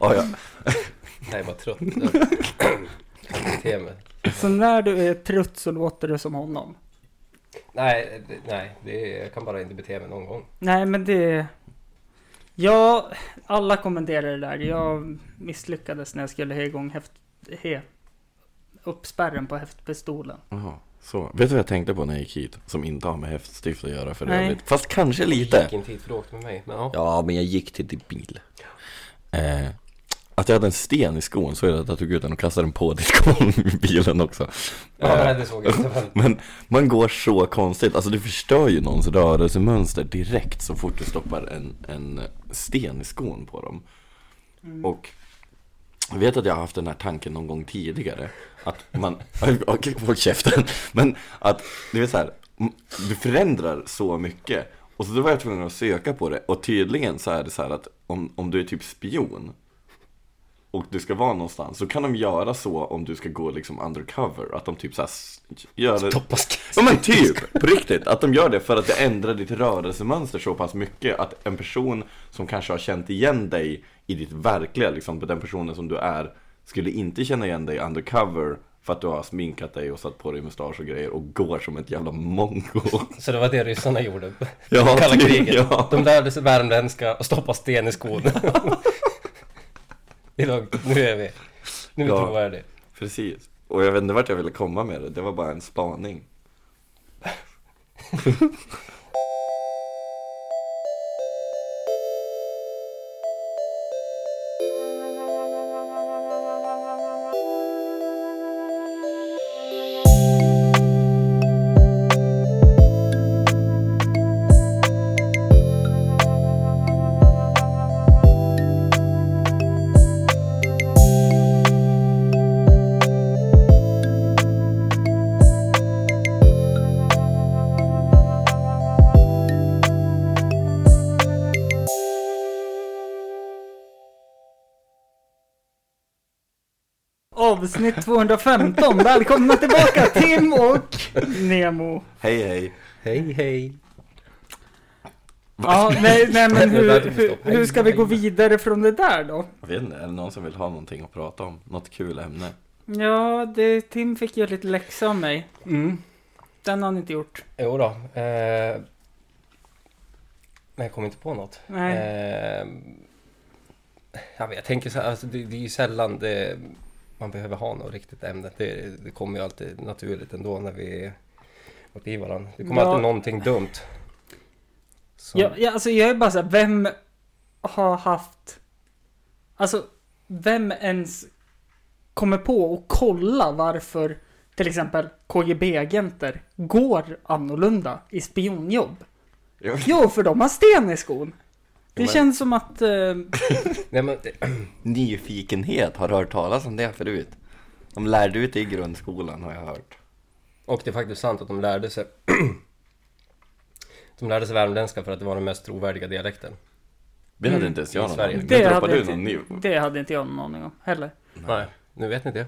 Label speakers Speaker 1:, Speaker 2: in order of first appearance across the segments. Speaker 1: Ja, ja.
Speaker 2: Jag är bara trött. Jag kan inte bete mig.
Speaker 3: Så när du är trött så låter du som honom.
Speaker 2: Nej, det- nej det är, jag kan bara inte bete mig någon gång.
Speaker 3: Nej, men det... Ja, alla kommenterar det där. Jag misslyckades när jag skulle ha igång häft... He... Uppspärren på häftpistolen.
Speaker 1: Jaha, så. Vet du vad jag tänkte på när jag gick hit? Som inte har med häftstift att göra för
Speaker 3: Nej.
Speaker 1: övrigt. Fast kanske
Speaker 2: Jag
Speaker 1: lite.
Speaker 2: gick inte hit för du åkte med mig. Men ja.
Speaker 1: Ja, men jag gick till din bil. Eh, att jag hade en sten i skon så är det att jag tog ut den och kastade den på ditt kon i bilen också.
Speaker 2: Ja, nej, det såg jag inte. Men...
Speaker 1: Men man går så konstigt, alltså du förstör ju någons rörelsemönster direkt så fort du stoppar en, en sten i skon på dem.
Speaker 2: Mm.
Speaker 1: Och jag vet att jag har haft den här tanken någon gång tidigare. Att man, okej, håll käften. Men att, det är så här, m- du förändrar så mycket. Och så då var jag tvungen att söka på det. Och tydligen så är det så här att om, om du är typ spion och du ska vara någonstans så kan de göra så om du ska gå liksom undercover. Att de typ så här s- gör det.
Speaker 2: Stoppa sk-
Speaker 1: Ja men typ, på riktigt. Att de gör det för att det ändrar ditt rörelsemönster så pass mycket att en person som kanske har känt igen dig i ditt verkliga, liksom den personen som du är, skulle inte känna igen dig undercover för att du har sminkat dig och satt på dig mustasch och grejer och går som ett jävla mongo.
Speaker 2: Så det var det ryssarna gjorde.
Speaker 1: Ja,
Speaker 2: Kalla
Speaker 1: typ,
Speaker 2: kriget.
Speaker 1: ja.
Speaker 2: De lärde sig värmländska och stoppa sten i skon. det är lugnt. Nu är vi. Nu är vi
Speaker 1: Ja.
Speaker 2: trovärdiga.
Speaker 1: Precis. Och jag vet inte vart jag ville komma med det, det var bara en spaning.
Speaker 3: Avsnitt 215. Välkomna tillbaka Tim och Nemo.
Speaker 1: Hej hej.
Speaker 2: Hej, hej.
Speaker 3: Ja, nej, nej men
Speaker 2: Det där
Speaker 3: hur,
Speaker 2: tycker
Speaker 3: hur,
Speaker 2: jag.
Speaker 3: hur ska vi gå vidare från det där då?
Speaker 1: Jag vet inte, är det någon som vill ha någonting att prata om? Något kul ämne?
Speaker 3: Ja, det, Tim fick ju lite läxa av mig.
Speaker 2: Mm.
Speaker 3: Den har han inte gjort.
Speaker 2: Jo då. Eh... Men jag kommer inte på något.
Speaker 3: Nej.
Speaker 2: Eh... ja, men Jag tänker så här, alltså, det, det är ju sällan det, man behöver ha något riktigt ämne. Det, det kommer ju alltid naturligt ändå när vi är uppe i varandra. Det kommer
Speaker 3: Ja.
Speaker 2: alltid någonting dumt. Som-
Speaker 3: Ja, ja, alltså jag är bara så här, vem har haft... Alltså, vem ens kommer på och kolla varför till exempel KGB-agenter går annorlunda i spionjobb?
Speaker 1: Jo.
Speaker 3: Jo, för de har sten i skon. Det
Speaker 1: men-
Speaker 3: känns som att... Eh,
Speaker 2: Nej, men, det-
Speaker 1: Nyfikenhet, har du hört talas om det förut? De lärde ut det i grundskolan har jag hört.
Speaker 2: och det är faktiskt sant att de lärde sig De lärde sig värmländska för att det var den mest trovärdiga dialekten.
Speaker 1: Det hade inte ens jag
Speaker 2: I
Speaker 1: någon
Speaker 2: Sverige.
Speaker 1: aning om.
Speaker 3: Mm. det,
Speaker 1: Men droppar
Speaker 3: hade
Speaker 1: du
Speaker 3: inte,
Speaker 1: någon ny?
Speaker 3: det hade inte jag någon aning om heller.
Speaker 2: Nej, nu vet ni det.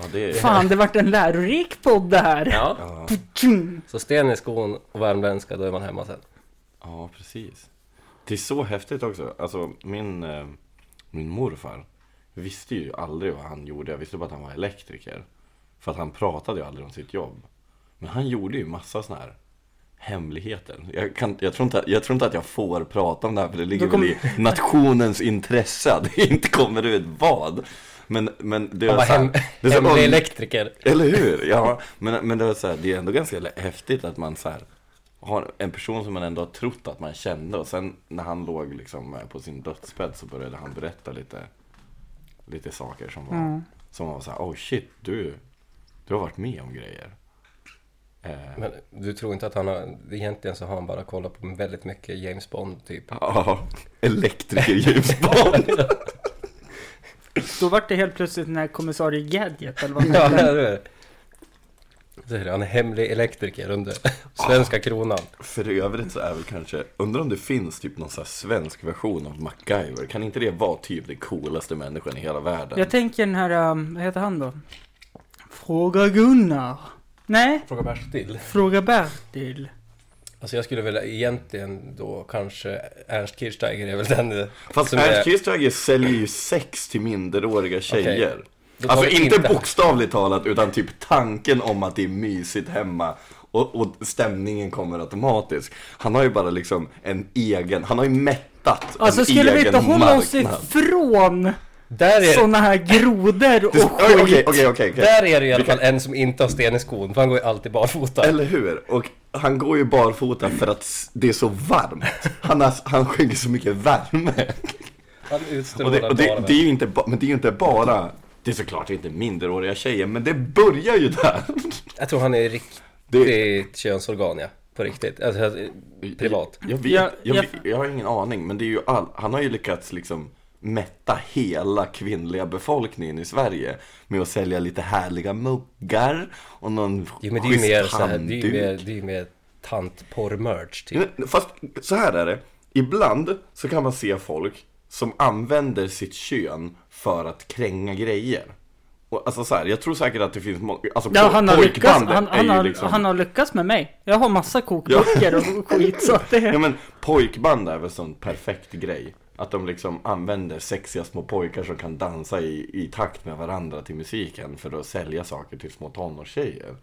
Speaker 1: Ja, det är...
Speaker 3: Fan, det vart en lärorik podd det här.
Speaker 2: Ja.
Speaker 1: Ja,
Speaker 3: Tjung.
Speaker 2: Så sten i skon och värmländska, då är man hemma sen.
Speaker 1: ja, precis. Det är så häftigt också. Alltså, min, eh, min morfar visste ju aldrig vad han gjorde. Jag visste bara att han var elektriker. För att han pratade ju aldrig om sitt jobb. Men han gjorde ju massa såna här hemligheter. Jag, kan, jag, tror inte, jag tror inte att jag får prata om det här för det ligger
Speaker 3: Då kom-
Speaker 1: väl i nationens intresse att det inte kommer ut vad. Men, men det
Speaker 2: Han var
Speaker 1: så här-
Speaker 2: hem,
Speaker 1: det är så här-
Speaker 2: hemlig elektriker.
Speaker 1: Eller hur? Ja, men, men det, var så här, det är ändå ganska häftigt att man så här, har en person som man ändå har trott att man kände och sen när han låg liksom på sin dödsbädd så började han berätta lite, lite saker som var, som var så här, oh shit, du, du har varit med om grejer. Eh,
Speaker 2: Men du tror inte att han har... Egentligen så har han bara kollat på väldigt mycket James Bond typ.
Speaker 1: ja, elektriker James Bond.
Speaker 3: Då vart det helt plötsligt den här kommissarie Gadget eller vad han
Speaker 2: Ja,
Speaker 3: hette.
Speaker 2: eller hur? Så är det, Han är hemlig elektriker under svenska kronan.
Speaker 1: För övrigt så är väl kanske, undrar om det finns typ någon så här svensk version av MacGyver? Kan inte det vara typ den coolaste människan i hela världen?
Speaker 3: Jag tänker den här, um, vad heter han då? Fråga Gunnar. Nej,
Speaker 2: Fråga Bertil.
Speaker 3: Fråga Bertil.
Speaker 2: Alltså jag skulle väl egentligen då kanske Ernst Kirchsteiger är väl den eh,
Speaker 1: Fast
Speaker 2: som
Speaker 1: Ernst
Speaker 2: är...
Speaker 1: Kirchsteiger säljer ju sex till minderåriga tjejer.
Speaker 2: Då tar
Speaker 1: Alltså
Speaker 2: vi
Speaker 1: inte,
Speaker 2: inte-
Speaker 1: bokstavligt talat, utan typ tanken om att det är mysigt hemma. Och, och stämningen kommer automatiskt. Han har ju bara liksom en egen, han har ju mättat
Speaker 3: Alltså
Speaker 1: en
Speaker 3: skulle vi
Speaker 1: egen
Speaker 3: inte hålla oss
Speaker 1: marknad.
Speaker 3: ifrån
Speaker 2: Där är,
Speaker 3: sådana här grodor och
Speaker 1: Det- Oj,
Speaker 3: skit?
Speaker 1: Okej, okej, okej. okej.
Speaker 2: där är det i alla fall en som inte har sten i skon, för han går ju alltid barfota.
Speaker 1: Eller hur? Och han går ju barfota för att s- det är så varmt. Han, har, han skänker så mycket värme.
Speaker 2: Han
Speaker 1: Och det,
Speaker 2: utstrålar
Speaker 1: och det,
Speaker 2: bara...
Speaker 1: det är ju inte, ba- men det är ju inte bara, det är såklart inte minderåriga tjejer, men det börjar ju där.
Speaker 2: Jag tror han är riktigt
Speaker 1: Det-
Speaker 2: könsorgan, ja. På riktigt. Alltså, eh, privat.
Speaker 1: Jag, vet, jag,
Speaker 3: Jag- jag-
Speaker 1: vet- jag har ingen aning, men det är ju all, han har ju lyckats liksom mätta hela kvinnliga befolkningen i Sverige med att sälja lite härliga muggar och någon
Speaker 2: Jo, men det är ju
Speaker 1: schysst
Speaker 2: mer så här, det är ju
Speaker 1: handduk.
Speaker 2: mer, det är ju mer tantporr-merch typ.
Speaker 1: Ja, men Fast så här är det. Ibland så kan man se folk som använder sitt kön för att kränga grejer. Och alltså så här, jag tror säkert att det finns många, alltså
Speaker 3: Ja,
Speaker 1: po-
Speaker 3: han, har lyckats,
Speaker 1: pojkbandet
Speaker 3: han,
Speaker 1: är
Speaker 3: han,
Speaker 1: ju
Speaker 3: har,
Speaker 1: liksom...
Speaker 3: han har lyckats med mig. Jag har massa kokböcker och skit så att det...
Speaker 1: Ja men pojkband är väl sån perfekt grej. Att de liksom använder sexiga små pojkar som kan dansa i, i takt med varandra till musiken för att sälja saker till små tonårstjejer.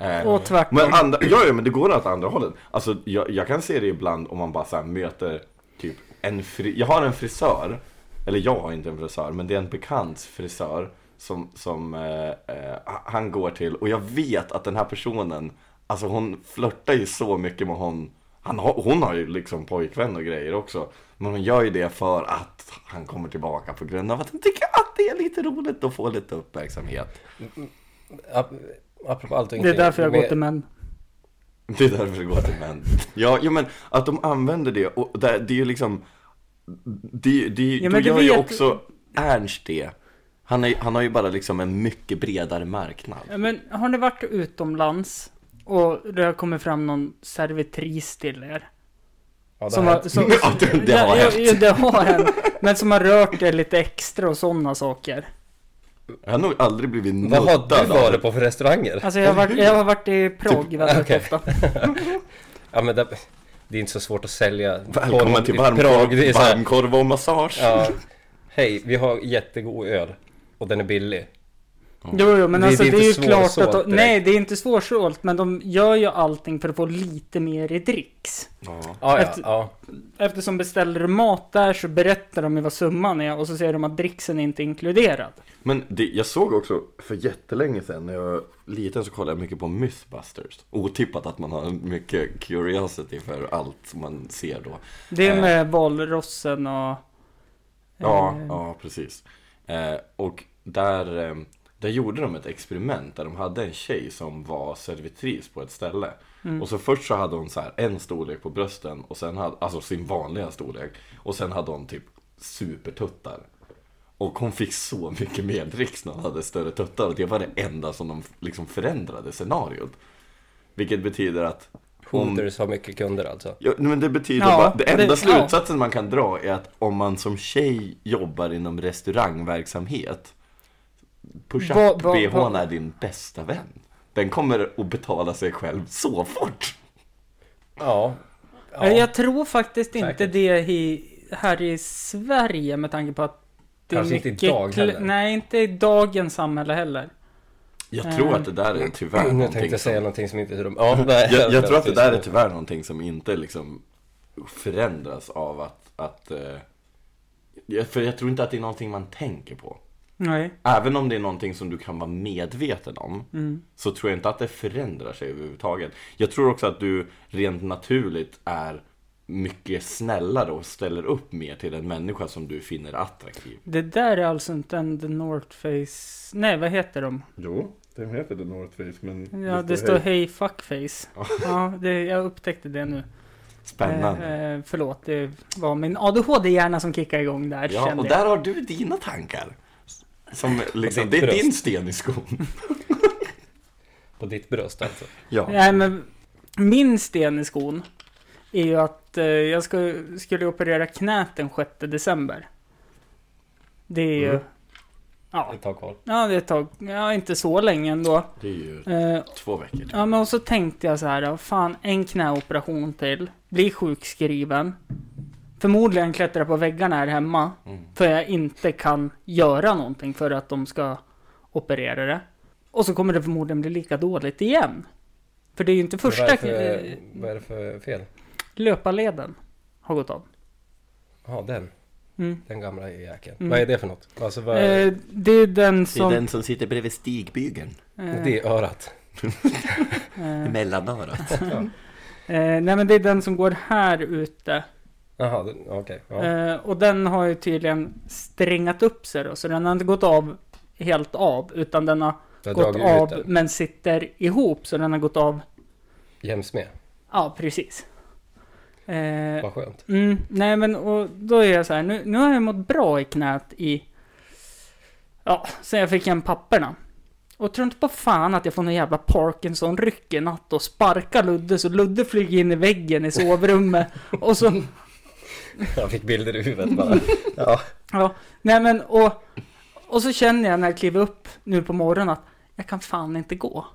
Speaker 1: Eh,
Speaker 3: Och tvärtom.
Speaker 1: Men andra, ja, ja, men det går åt andra hållet. Alltså, jag, jag kan se det ibland om man bara så här möter typ en fri, Jag har en frisör, eller jag har inte en frisör, men det är en bekants frisör som, som eh, eh, han går till och jag vet att den här personen, alltså hon flörtar ju så mycket med hon han har, hon har ju liksom pojkvän och grejer också. Men hon gör ju det för att han kommer tillbaka på grund av att han tycker att det är lite roligt att få lite uppmärksamhet.
Speaker 2: Ap- Apropå allt och
Speaker 3: Det är
Speaker 2: ingenting,
Speaker 3: därför jag går
Speaker 2: men-
Speaker 3: till män.
Speaker 1: Det är därför det går till män. Ja, ja men att de använder det och det, det är ju liksom det, det,
Speaker 3: Ja,
Speaker 1: Då
Speaker 3: men du
Speaker 1: gör ju
Speaker 3: vet-
Speaker 1: också Ernst det. Han, är, han har ju bara liksom en mycket bredare marknad.
Speaker 3: Ja, Men har ni varit utomlands och det har kommit fram någon servitris till er?
Speaker 2: Ja, det
Speaker 3: Som
Speaker 2: här-
Speaker 3: har, som,
Speaker 1: Ja, det- det har
Speaker 3: ja,
Speaker 1: hänt.
Speaker 3: ja, det har hänt. Men som har rört er lite extra och sådana saker.
Speaker 1: Jag har nog aldrig blivit
Speaker 2: Vad
Speaker 1: nuddad
Speaker 2: har du
Speaker 1: av
Speaker 2: varit på för restauranger?
Speaker 3: Alltså jag har varit, jag har varit i Prag väldigt
Speaker 2: Typ- okej.
Speaker 3: ofta.
Speaker 2: Ja, men det, det är inte så svårt att sälja.
Speaker 1: Välkommen
Speaker 2: Porr
Speaker 1: till
Speaker 2: i Prag, det är
Speaker 1: varmkorv,
Speaker 2: så här-
Speaker 1: varmkorv och massage.
Speaker 2: Ja. Hej, vi har jättegod öl och den är billig.
Speaker 3: Jo, jo, men
Speaker 2: Det-
Speaker 3: alltså
Speaker 2: det
Speaker 3: det
Speaker 2: är
Speaker 3: är,
Speaker 2: inte
Speaker 3: ju klart
Speaker 2: svårsålt
Speaker 3: att de,
Speaker 2: direkt.
Speaker 3: Nej, det är inte svårsålt, men de gör ju allting för att få lite mer i dricks.
Speaker 1: Ja.
Speaker 2: Ja, ja,
Speaker 3: Ett-
Speaker 2: ja.
Speaker 3: Eftersom beställer du mat där så berättar de ju vad summan är och så säger de att dricksen är inte inkluderad.
Speaker 1: Men det, jag såg också för jättelänge sedan när jag var liten så kollade jag mycket på Mythbusters. Otippat att man har mycket curiosity för allt som man ser då.
Speaker 3: Det
Speaker 1: Eh.
Speaker 3: är med valrossen och...
Speaker 1: Ja,
Speaker 3: Eh.
Speaker 1: ja precis. Eh, och där, eh, där gjorde de ett experiment där de hade en tjej som var servitris på ett ställe. Och så först så hade hon så här en storlek på brösten och sen hade, alltså sin vanliga storlek. Och sen hade hon typ supertuttar. Och hon fick så mycket mer dricks när hon hade större tuttar och det var det enda som de liksom förändrade scenariot. Vilket betyder att hon,
Speaker 2: Hooters har mycket kunder alltså.
Speaker 1: Ja, men det betyder
Speaker 3: Ja,
Speaker 1: bara, det enda
Speaker 3: det-
Speaker 1: slutsatsen man kan dra är att om man som tjej jobbar inom restaurangverksamhet Push-up
Speaker 3: Vad- vad-
Speaker 1: bhn
Speaker 3: vad-
Speaker 1: är din bästa vän Den kommer att betala sig själv så fort!
Speaker 2: Ja. ja.
Speaker 3: Eh, Jag tror faktiskt inte
Speaker 2: Säkert.
Speaker 3: det i, här i Sverige med tanke på att det
Speaker 2: Kanske
Speaker 3: är
Speaker 2: inte
Speaker 3: mycket...
Speaker 2: idag
Speaker 3: kl-
Speaker 2: heller.
Speaker 3: Nej, inte i dagens samhälle heller.
Speaker 1: Jag
Speaker 3: Eh.
Speaker 1: tror att det där är tyvärr
Speaker 2: Nu
Speaker 1: någonting
Speaker 2: tänkte jag säga
Speaker 1: som,
Speaker 2: någonting som inte är så dumt. Ja, nej,
Speaker 1: jag, jag tror att det där är tyvärr någonting som inte liksom förändras av att, att eh, jag- För jag tror inte att det är någonting man tänker på
Speaker 3: Nej.
Speaker 1: Även om det är någonting som du kan vara medveten om
Speaker 3: Mm.
Speaker 1: så tror jag inte att det förändrar sig överhuvudtaget. Jag tror också att du rent naturligt är mycket snällare och ställer upp mer till en människa som du finner attraktiv.
Speaker 3: Det där är alltså inte en The North Face... Nej, vad heter de?
Speaker 1: Jo, den heter The North Face men
Speaker 3: Ja, det står Hey Fuckface. Ja, det, jag upptäckte det nu.
Speaker 1: Spännande.
Speaker 3: Eh, eh, förlåt, det var min ADHD-hjärna som kickade igång där.
Speaker 1: Ja,
Speaker 3: kände
Speaker 1: och
Speaker 3: jag.
Speaker 1: där har du dina tankar. Som liksom,
Speaker 2: ditt
Speaker 1: det är
Speaker 2: bröst.
Speaker 1: din sten i skon.
Speaker 2: På ditt bröst alltså.
Speaker 1: Ja.
Speaker 3: Nej, men min sten i skon är ju att eh, jag ska, skulle operera knät den 6 december. Det är ju
Speaker 1: Mm.
Speaker 3: Ja.
Speaker 2: Ett tag kvar.
Speaker 3: ja, det är ett tag. Ja, inte så länge ändå.
Speaker 1: Det är ju
Speaker 3: Eh,
Speaker 1: två veckor.
Speaker 3: Ja, men och så tänkte jag så här, ja, fan en knäoperation till, bli sjukskriven. Förmodligen klättra på väggarna här hemma,
Speaker 1: Mm.
Speaker 3: för jag inte kan göra någonting för att de ska operera det. Och så kommer det förmodligen bli lika dåligt igen. För det är ju inte första... eh,
Speaker 2: Vad är det för, vad är det för fel?
Speaker 3: Löparleden har gått av.
Speaker 2: Ja, den.
Speaker 3: Mm.
Speaker 2: Den gamla jäkeln.
Speaker 3: Mm.
Speaker 2: Vad är det för något? Alltså, vad är,
Speaker 3: Eh, det är den som...
Speaker 1: som sitter bredvid stigbygeln.
Speaker 3: eh,
Speaker 2: Det är örat.
Speaker 3: eh,
Speaker 1: Mellanörat.
Speaker 3: eh, nej men det är den som går här ute.
Speaker 2: Jaha, den- okej. ja.
Speaker 3: Eh, och den har ju tydligen strängat upp sig då, så den har inte gått av helt av, utan den har
Speaker 2: Du har
Speaker 3: gått
Speaker 2: dragit ut
Speaker 3: av
Speaker 2: den.
Speaker 3: men sitter ihop, så den har gått av,
Speaker 2: Jäms med.
Speaker 3: ja precis. Eh,
Speaker 2: Vad skönt.
Speaker 3: mm, nej men och då är jag så här, nu, nu har jag mått bra i knät i, ja, sen jag fick hem papperna. Och tror inte på fan att jag får någon jävla Parkinson-ryck i natt och sparkar Ludde så Ludde flyger in i väggen i sovrummet. Och så
Speaker 2: Jag fick bilder i huvudet bara. Ja.
Speaker 3: Ja, nej men och, och så känner jag när jag kliver upp nu på morgonen att jag kan fan inte gå.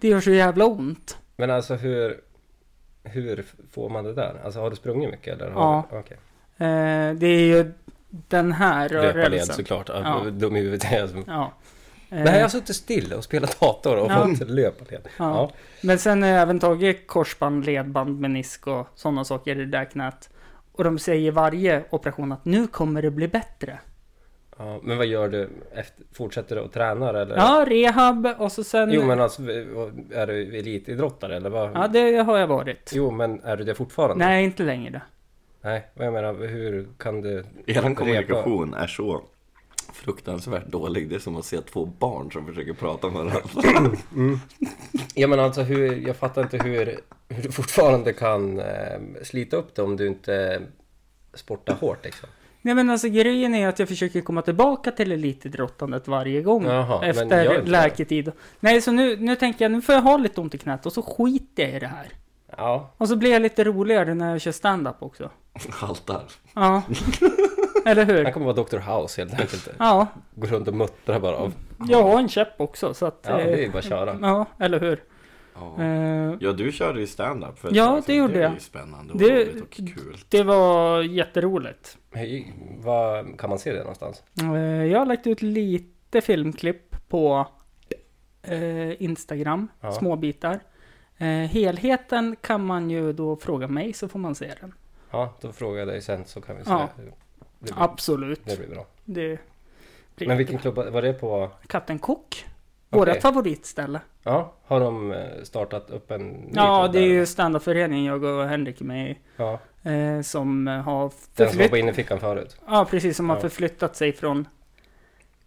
Speaker 3: Det gör så jävla ont.
Speaker 2: Men alltså hur... Hur får man det där? Alltså har du sprungit mycket eller?
Speaker 3: Ja.
Speaker 2: Har du, okej.
Speaker 3: Eh, det är ju den här
Speaker 2: Löparled
Speaker 3: rörelsen.
Speaker 2: såklart.
Speaker 3: Ja.
Speaker 2: Ja. Dum i huvudet är jag som...
Speaker 3: Ja. Eh,
Speaker 2: Nej, jag har suttit still och spelat dator och
Speaker 3: Ja.
Speaker 2: fått löparled.
Speaker 3: Ja.
Speaker 2: Ja.
Speaker 3: Men sen har jag även tagit korsband, ledband, menisk och sådana saker i det där knät. Och de säger varje operation att nu kommer det bli bättre.
Speaker 2: Ja, men vad gör du? Efter, fortsätter du att träna eller?
Speaker 3: Ja, rehab och så sen...
Speaker 2: Jo men alltså, är du elitidrottare eller vad?
Speaker 3: Ja, det har jag varit.
Speaker 2: Jo men är du det fortfarande?
Speaker 3: Nej, inte längre.
Speaker 2: Nej, vad jag menar, hur kan du...
Speaker 1: Er
Speaker 2: repa-
Speaker 1: kommunikation är så fruktansvärt dålig. Det är som att se två barn som försöker prata med varandra.
Speaker 2: Ja men alltså hur, jag fattar inte hur, hur du fortfarande kan eh, slita upp det om du inte sportar hårt liksom.
Speaker 3: Nej men alltså grejen är att jag försöker komma tillbaka till elitidrottandet varje gång.
Speaker 2: Jaha, men gör
Speaker 3: efter
Speaker 2: inte
Speaker 3: läketid. Nej så nu, nu tänker jag nu får jag ha lite ont i knät och så skiter jag i det här.
Speaker 2: Ja,
Speaker 3: Och så blir jag lite roligare när jag kör stand-up också.
Speaker 1: Haltar.
Speaker 3: Ja. Eller
Speaker 2: han
Speaker 3: hur?
Speaker 2: kommer vara Dr. House helt enkelt.
Speaker 3: Ja.
Speaker 2: Går runt och muttrar bara av.
Speaker 3: Jag har en käpp också så att...
Speaker 2: Ja,
Speaker 3: eh,
Speaker 2: det är bara att köra.
Speaker 3: Ja, eller hur?
Speaker 1: Ja.
Speaker 3: Eh,
Speaker 1: Ja, du körde ju stand-up för ett
Speaker 3: Ja,
Speaker 1: tag sedan.
Speaker 3: det gjorde
Speaker 1: Det är
Speaker 3: jag.
Speaker 1: ju spännande och
Speaker 3: Det-
Speaker 1: roligt och kul.
Speaker 3: det var jätteroligt.
Speaker 2: Hej, vad, kan man se det någonstans?
Speaker 3: Eh, jag har lagt ut lite filmklipp på eh, Instagram,
Speaker 2: Ja.
Speaker 3: små bitar. Eh, helheten kan man ju då fråga mig så får man se den.
Speaker 2: Ja, då frågar jag dig sen så kan vi se.
Speaker 3: Ja.
Speaker 2: hur Det, blir,
Speaker 3: Absolut.
Speaker 2: det blir bra.
Speaker 3: Det blir
Speaker 2: Men vilken klubb, var det på?
Speaker 3: Kapten Kock.
Speaker 2: Okej.
Speaker 3: Vårat favoritställe.
Speaker 2: Ja, har de eh, startat upp en ny
Speaker 3: Ja,
Speaker 2: klubb
Speaker 3: det är
Speaker 2: där,
Speaker 3: ju
Speaker 2: eller?
Speaker 3: standardföreningen jag och Henrik är med i.
Speaker 2: Ja,
Speaker 3: Eh, som har
Speaker 2: den som var
Speaker 3: förflyttat...
Speaker 2: på innerfickan förut.
Speaker 3: Ja, precis. Som har
Speaker 2: Ja.
Speaker 3: förflyttat sig från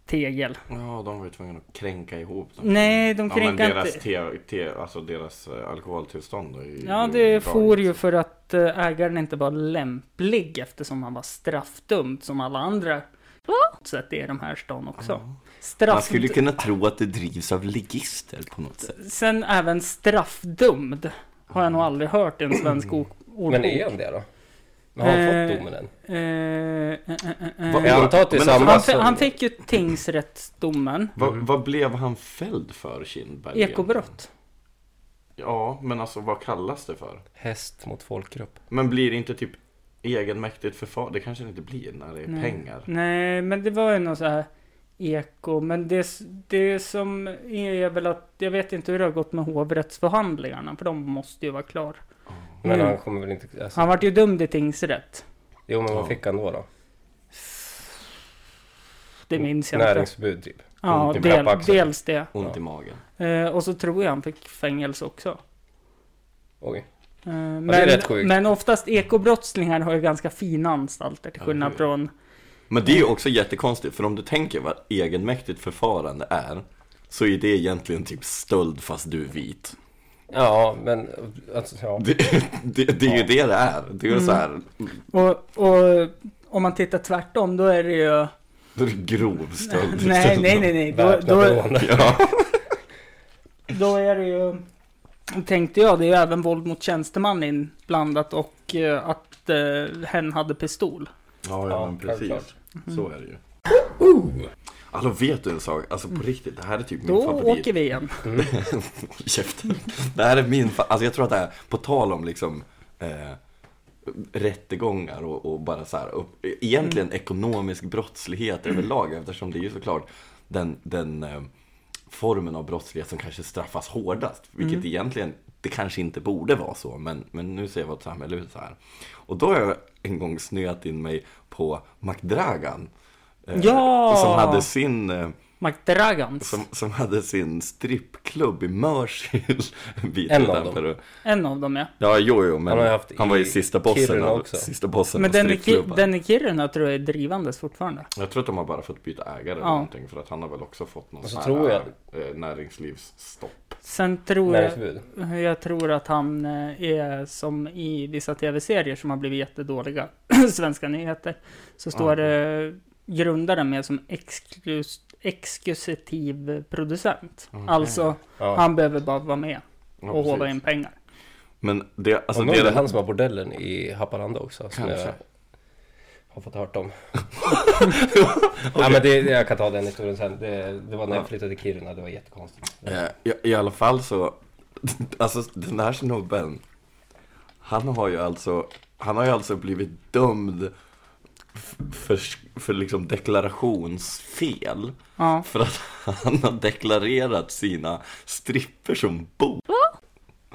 Speaker 3: Tegel.
Speaker 1: Ja, de var ju tvungna att kränka ihop dem.
Speaker 3: Nej, de
Speaker 1: Ja, men
Speaker 3: kränkar
Speaker 1: deras,
Speaker 3: inte.
Speaker 1: te, te, alltså deras eh, alkoholtillstånd är ju
Speaker 3: Ja,
Speaker 1: är
Speaker 3: det
Speaker 1: ju
Speaker 3: for ju
Speaker 1: galet.
Speaker 3: för att eh, ägaren inte var lämplig eftersom han var straffdömd som alla andra. Så att det är de här stan också.
Speaker 1: Man
Speaker 3: Straff...
Speaker 1: skulle ju kunna tro att det drivs av ligister på något sätt.
Speaker 3: Sen även straffdömd har jag nog
Speaker 1: Mm.
Speaker 3: aldrig hört i en svensk o- ordbok.
Speaker 2: Men är han det då? Men har han
Speaker 3: Eh,
Speaker 2: fått domen än?
Speaker 3: Eh, eh, eh, eh.
Speaker 1: Vad-
Speaker 2: Jag antar att det är
Speaker 1: Men alltså,
Speaker 2: samma
Speaker 3: Han, fi-
Speaker 2: som...
Speaker 3: han fick ju tingsrättsdomen.
Speaker 1: Vad, vad blev han fälld för, Kindberg?
Speaker 3: Ekobrott.
Speaker 1: Ja, men alltså vad kallas det för?
Speaker 2: Häst mot folkgrupp.
Speaker 1: Men blir det inte typ egenmäktigt förfarande? Det kanske det inte blir när det är
Speaker 3: Nej. Mm.
Speaker 1: pengar.
Speaker 3: Nej, men det var ju någon så här eko. Men det, s- det som är väl att jag vet inte hur det har gått med hovrättsförhandlingarna. För de måste ju vara klar.
Speaker 2: Men
Speaker 3: Mm.
Speaker 2: han kommer väl inte... Alltså,
Speaker 3: Han vart ju dömd i tingsrätt.
Speaker 2: Jo men
Speaker 1: Ja.
Speaker 2: vad fick han då? då?
Speaker 3: Det
Speaker 2: Mm.
Speaker 3: minns jag inte.
Speaker 2: Näringsförbud typ.
Speaker 3: Ja,
Speaker 1: ont i
Speaker 3: del,
Speaker 2: pappaxeln.
Speaker 3: dels det.
Speaker 1: Ont
Speaker 2: Ja.
Speaker 1: i magen.
Speaker 3: Eh, och så tror jag han fick fängelse också.
Speaker 2: Oj.
Speaker 3: Eh,
Speaker 2: det är
Speaker 3: Men,
Speaker 2: rätt sjukt.
Speaker 3: men oftast ekobrottslingar har ju ganska fina anstalter till
Speaker 1: Ja,
Speaker 3: skillnad
Speaker 1: det är
Speaker 3: från...
Speaker 1: Men det är ju också jättekonstigt, för om du tänker vad egenmäktigt förfarande är, så är det egentligen typ stöld fast du är vit.
Speaker 2: Ja men... Alltså, ja.
Speaker 1: Det, det, det är ju det det är. Det är ju så här
Speaker 3: Och, och om man tittar tvärtom då är det ju...
Speaker 1: grov stöld.
Speaker 3: Nej, nej, nej, nej. Då,
Speaker 2: Väpnat
Speaker 3: då,
Speaker 2: rån.
Speaker 1: Ja.
Speaker 3: då är det ju... Tänkte jag, det är ju även våld mot tjänsteman inblandat och eh, att eh, hen hade pistol.
Speaker 1: Ja, ja, men
Speaker 2: självklart.
Speaker 1: precis. Så är det ju.
Speaker 2: Ooh.
Speaker 1: Alltså vet du en sak? Alltså på riktigt, det här är typ min
Speaker 3: Då
Speaker 1: favorit.
Speaker 3: åker vi igen.
Speaker 1: Käften. Det här är min, fa- alltså jag tror att det här, på tal om liksom eh, rättegångar och, och bara så här, upp, egentligen ekonomisk brottslighet överlag eftersom det är ju såklart den, den eh, formen av brottslighet som kanske straffas hårdast, vilket egentligen det kanske inte borde vara så, men, men nu ser vårt samhälle ut så här. Och då har jag en gång snöat in mig på McDragan. eh,
Speaker 3: Ja!
Speaker 1: Som hade sin eh,
Speaker 3: McDragans.
Speaker 1: som, som hade sin strippklubb i Mörsil. En bit
Speaker 2: En av
Speaker 1: utanför.
Speaker 3: En av dem ja.
Speaker 1: Ja, jo, jo,
Speaker 2: Han har
Speaker 1: men han,
Speaker 2: ju haft
Speaker 1: var ju
Speaker 2: i
Speaker 1: sista bossen
Speaker 2: Kiruna
Speaker 1: av,
Speaker 2: också.
Speaker 1: sista bossen
Speaker 3: Men
Speaker 1: av
Speaker 3: den i, Ki-
Speaker 1: strippklubben.
Speaker 3: den i Kiruna tror jag är drivandes fortfarande.
Speaker 1: Jag tror att de har bara fått byta ägare eller
Speaker 3: Ja.
Speaker 1: någonting för att han har väl också fått någon
Speaker 2: Och så
Speaker 1: sån här
Speaker 2: tror
Speaker 1: eh, näringslivsstopp.
Speaker 3: Sen tror jag,
Speaker 2: Näringsförbud.
Speaker 3: jag tror att han eh, är som i vissa tv-serier som har blivit jättedåliga svenska nyheter. Så
Speaker 1: Ah,
Speaker 3: står det grundaren med som exklus, exklusiv producent. Alltså,
Speaker 2: Ja.
Speaker 3: han behöver bara vara med
Speaker 1: Ja,
Speaker 3: och hålla
Speaker 1: precis.
Speaker 3: in pengar.
Speaker 1: Men det, alltså
Speaker 2: och nu är det
Speaker 1: det,
Speaker 2: han som har bordellen i Haparanda också. Som
Speaker 1: Kanske.
Speaker 2: jag har fått hört om. ja, men det, jag kan ta den historien sen. Det, det var när jag flyttade till Kiruna, det var jättekonstigt.
Speaker 1: eh, i, i alla fall så, alltså den här snubben, han har ju alltså, han har ju alltså blivit dömd f- för, för liksom deklarationsfel.
Speaker 3: Ja.
Speaker 1: För att han har deklarerat sina stripper som bo.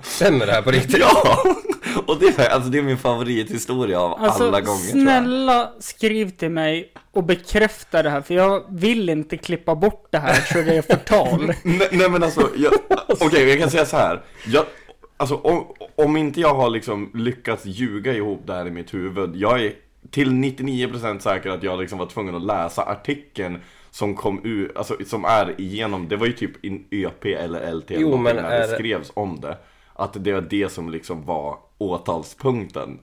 Speaker 2: Stämmer det här på riktigt?
Speaker 1: Ja! Och det är, alltså, det är min favorithistoria av
Speaker 3: Alltså,
Speaker 1: alla gånger tror
Speaker 3: snälla skriv till mig och bekräfta det här, för jag vill inte klippa bort det här så det är förtal.
Speaker 1: jag. Nej, nej men alltså, jag- okej jag kan säga så här. Jag, alltså om, om inte jag har liksom lyckats ljuga ihop det här i mitt huvud. Jag är till 99% säker att jag liksom var tvungen att läsa artikeln som kom ut, alltså som är igenom, det var ju typ in ÖP eller LT eller
Speaker 2: Jo,
Speaker 1: någonting
Speaker 2: men
Speaker 1: när
Speaker 2: är
Speaker 1: det
Speaker 2: det-
Speaker 1: skrevs om det. Att det var det som liksom var åtalspunkten.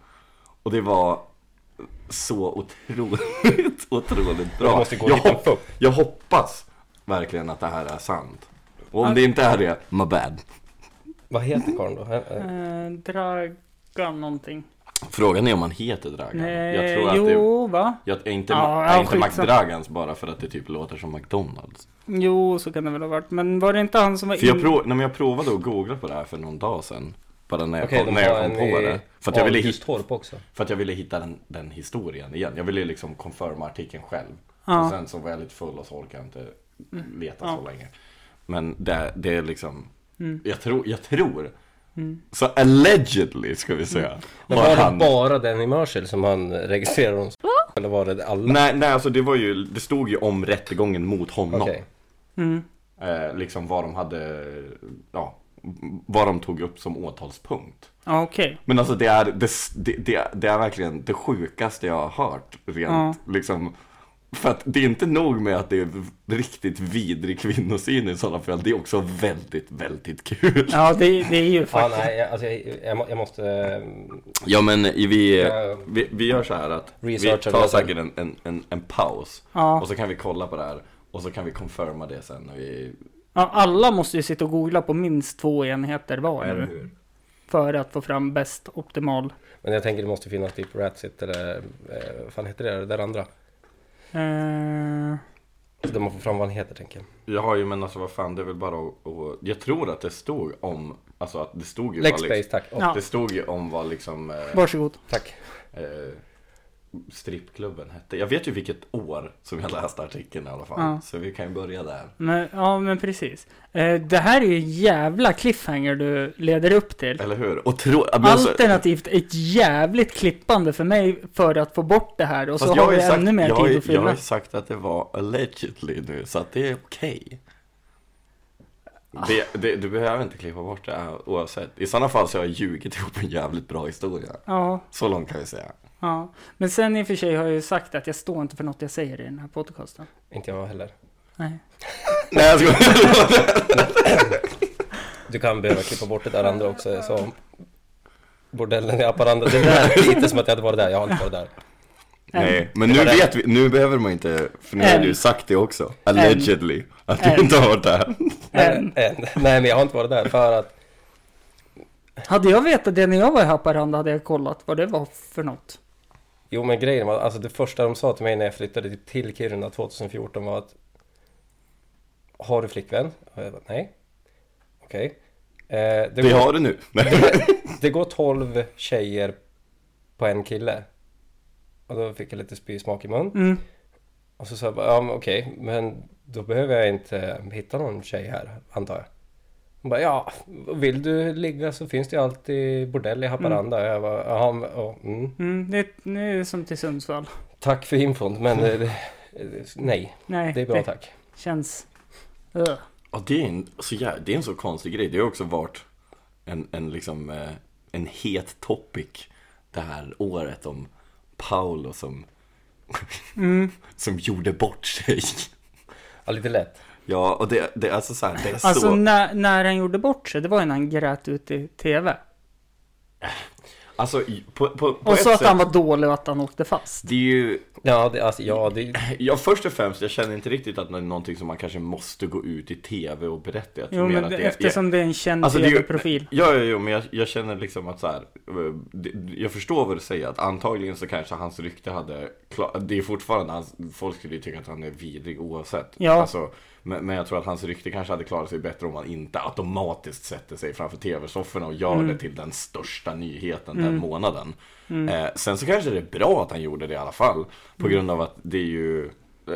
Speaker 1: Och det var så otroligt, otroligt bra.
Speaker 2: Jag måste gå och
Speaker 1: jag,
Speaker 2: hitta en puck.
Speaker 1: jag hoppas verkligen att det här är sant. Och om det inte är det, my bad.
Speaker 2: Vad heter karln då? Eh, eh,
Speaker 3: Eh, Dragan någonting.
Speaker 1: Frågan är om han heter Dragan.
Speaker 3: Nej,
Speaker 1: jag tror att det
Speaker 3: jo, va?
Speaker 1: jag, är inte,
Speaker 3: Ja,
Speaker 1: är
Speaker 3: ja,
Speaker 1: inte
Speaker 3: skitsamma.
Speaker 1: McDragans bara för att det typ låter som McDonalds.
Speaker 3: Jo, så kan det väl ha varit. Men var det inte han som var
Speaker 1: För jag,
Speaker 3: in-
Speaker 1: prov, nej, men jag provade att googla på det här för någon dag sedan. Bara när jag
Speaker 2: Okej,
Speaker 1: kom,
Speaker 2: de
Speaker 1: när
Speaker 2: har
Speaker 1: jag kom
Speaker 2: en
Speaker 1: på det.
Speaker 2: i
Speaker 1: För att jag ville, hit,
Speaker 2: Alhustorp också.
Speaker 1: för att jag ville hitta den, den historien igen. Jag ville liksom confirma artikeln själv.
Speaker 3: Ja.
Speaker 1: Och sen så var jag lite full och så orkade jag inte leta
Speaker 3: Ja.
Speaker 1: så länge. Men det, det är liksom,
Speaker 2: Mm.
Speaker 1: jag tror, jag tror. Så allegedly ska vi säga.
Speaker 2: Mm. Men
Speaker 1: har
Speaker 2: var det
Speaker 1: han-
Speaker 2: bara den i Mörsil som han registrerade honom som? Eller var det alla?
Speaker 1: Nej, nej alltså det var ju, det stod ju om rättegången mot honom.
Speaker 2: Okej.
Speaker 3: Mm.
Speaker 1: Eh, liksom vad de hade, ja, vad de tog upp som åtalspunkt.
Speaker 3: Ja, okej.
Speaker 1: Men alltså det är, det, det, det, det är verkligen det sjukaste jag har hört rent liksom. För att det är inte nog med att det är riktigt vidrig kvinnosyn i sådana fall, det är också väldigt, väldigt kul.
Speaker 3: Ja, det, det är ju
Speaker 2: Ja,
Speaker 3: faktiskt...
Speaker 2: nej, jag, alltså, jag, jag, må- jag måste... eh,
Speaker 1: Ja men vi,
Speaker 2: Ja, ja.
Speaker 1: vi, vi gör så här att vi
Speaker 2: Researcha
Speaker 1: tar
Speaker 2: det sen.
Speaker 1: säkert en, en, en, en paus
Speaker 3: Ja.
Speaker 1: och så kan vi kolla på det här och så kan vi confirma det sen när vi
Speaker 3: Ja, alla måste ju sitta och googla på minst två enheter var
Speaker 1: Eller
Speaker 3: nu.
Speaker 1: hur?
Speaker 3: För att få fram bäst optimal.
Speaker 2: Men jag tänker det måste finnas typ Ratsit eller eh, vad fan heter det där, det där andra?
Speaker 3: Eh,
Speaker 2: Så där man får fram vad han heter tänker jag.
Speaker 1: Jag har ju men alltså vad fan det är väl bara att, att jag tror att det stod om Alltså att det stod ju vad
Speaker 2: Lexbase,
Speaker 1: liksom,
Speaker 2: tack. Åh,
Speaker 3: Ja.
Speaker 1: Det stod ju om vad liksom eh,
Speaker 3: varsågod.
Speaker 2: Tack.
Speaker 1: eh, Strippklubben hette Jag vet ju vilket år som jag läste artikeln i alla fall
Speaker 3: Ja.
Speaker 1: Så vi kan ju börja där
Speaker 3: Men, ja, men precis. Eh, det här är ju en jävla cliffhanger du leder upp till.
Speaker 1: Eller hur? Och tro, men alltså-
Speaker 3: Alternativt ett jävligt klippande för mig för att få bort det här och
Speaker 1: fast
Speaker 3: så
Speaker 1: jag
Speaker 3: har
Speaker 1: ju
Speaker 3: vi ännu mer
Speaker 1: jag har
Speaker 3: tid
Speaker 1: ju-
Speaker 3: att
Speaker 1: Jag har
Speaker 3: fylla.
Speaker 1: ju sagt att det var allegedly nu så att det är okej
Speaker 3: Ah.
Speaker 1: det, det, du behöver inte klippa bort det här oavsett. I sådana fall så har jag ljugit ihop en jävligt bra historia.
Speaker 3: Ja,
Speaker 1: Så långt kan vi säga.
Speaker 3: ja. Men sen i och för sig har jag ju sagt att jag står inte för något jag säger i den här podcasten.
Speaker 2: Inte jag heller.
Speaker 3: Nej.
Speaker 1: Nej jag skojar.
Speaker 2: Du kan behöva klippa bort det där andra också. Jag sa om bordellen i Haparanda. Det där är lite som att jag hade varit där. Jag har inte varit där.
Speaker 1: Nej, men nu
Speaker 2: var det.
Speaker 1: vet vi, nu behöver man inte, för nu har
Speaker 3: Än.
Speaker 1: du sagt det också, allegedly, att du
Speaker 3: Än.
Speaker 1: inte har varit där.
Speaker 2: Men, en. Nej, men jag har inte varit där för att...
Speaker 3: Hade jag vetat det när jag var i Haparanda hade jag kollat vad det var för något.
Speaker 2: Jo men grejen var, alltså det första de sa till mig när jag flyttade till- till Kiruna 2014 var att Har du flickvän? Och jag bara, nej Okej eh, det,
Speaker 1: Det
Speaker 2: går,
Speaker 1: har du nu.
Speaker 2: det går 12 tjejer på en kille Och då fick jag lite spysmak i mun
Speaker 3: Mm.
Speaker 2: Och så sa jag bara, ja men okej, men då behöver jag inte hitta någon tjej här, antar jag. Hon bara, ja, vill du ligga så finns det ju alltid bordell i Haparanda. Och Jag bara, Jaha, men, ja, mm.
Speaker 3: Mm, det, nu är det som till Sundsvall.
Speaker 2: Tack för infon, men eh, eh, nej,
Speaker 3: Nej,
Speaker 2: det är bra tack.
Speaker 3: känns... Ugh.
Speaker 1: Ja, det, är en, så jä- det är en så konstig grej. Det har också varit en, en, liksom, eh, en het topic det här året om Paolo som,
Speaker 3: Mm.
Speaker 1: som gjorde bort sig.
Speaker 2: Ja, lite lätt.
Speaker 1: Ja, och det, det, är alltså så här, det är
Speaker 3: Alltså
Speaker 1: så...
Speaker 3: när, när han gjorde bort sig, det var ju när han grät ut i TV.
Speaker 1: Alltså, i- på, på, på
Speaker 3: Och
Speaker 1: ett
Speaker 3: sa att
Speaker 1: sätt,
Speaker 3: han var dålig och att han åkte fast.
Speaker 1: Det är ju...
Speaker 2: Ja, det, alltså, ja, det,
Speaker 1: Ja, först och främst, jag känner inte riktigt att det är någonting som man kanske måste gå ut i TV och berätta. Jag tror
Speaker 3: Jo,
Speaker 1: mer
Speaker 3: men
Speaker 1: att
Speaker 3: det,
Speaker 1: det är-
Speaker 3: eftersom det är en känd
Speaker 1: Alltså, det är ju-
Speaker 3: TV-profil.
Speaker 1: Ja, ja, ja men jag, jag känner liksom att så här, eh, det- jag förstår vad du säger, att antagligen så kanske hans rykte hade, kla- det är fortfarande, hans, folk skulle ju tycka att han är vidrig oavsett.
Speaker 3: Ja.
Speaker 1: Alltså, men, men jag tror att hans rykte kanske hade klarat sig bättre om han inte automatiskt sätter sig framför tv-sofforna och gör det till den största nyheten den månaden. Eh, sen så kanske det är bra att han gjorde det i alla fall, på grund av att det är ju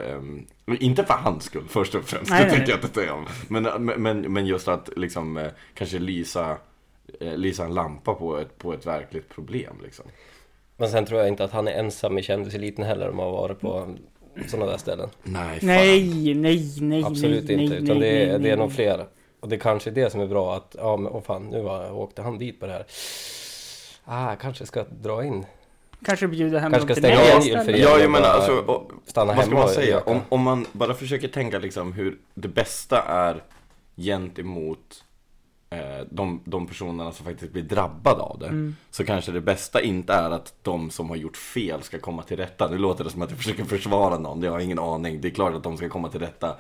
Speaker 1: ehm, inte för hans skull först och främst,
Speaker 3: Nej,
Speaker 1: det
Speaker 3: nej.
Speaker 1: tänker jag inte säga om. Men, men, men just att liksom eh, kanske lysa, eh, lysa en lampa på ett, på ett verkligt problem liksom.
Speaker 2: men sen tror jag inte att han är ensam i kändiseliten heller om man har varit på sådana där ställen.
Speaker 1: Nej, fan.
Speaker 3: Nej, nej, nej,
Speaker 2: Absolut
Speaker 3: nej,
Speaker 2: inte,
Speaker 3: nej,
Speaker 2: utan
Speaker 3: nej,
Speaker 2: det, är,
Speaker 3: nej,
Speaker 2: det är
Speaker 3: nej.
Speaker 2: nog fler. Och det kanske är det som är bra att, ja men åh fan, nu var, åkte han dit på det här. Ah, kanske ska dra in.
Speaker 3: Kanske bjuda hem
Speaker 2: Kanske ska
Speaker 3: dem till
Speaker 2: stänga
Speaker 3: mig
Speaker 2: av
Speaker 3: istället.
Speaker 2: julfireringen.
Speaker 1: Ja,
Speaker 2: jag
Speaker 1: jag menar
Speaker 2: bara
Speaker 1: alltså, och,
Speaker 2: stanna
Speaker 1: vad ska
Speaker 2: hemma
Speaker 1: man
Speaker 2: och
Speaker 1: säga?
Speaker 2: röka.
Speaker 1: Om, om man bara försöker tänka liksom hur det bästa är gentemot eh, de, de personerna som faktiskt blir drabbade av det. Så kanske det bästa inte är att de som har gjort fel ska komma till rätta. Nu låter det som att jag försöker försvara någon, det har jag ingen aning. Det är klart att de ska komma till rätta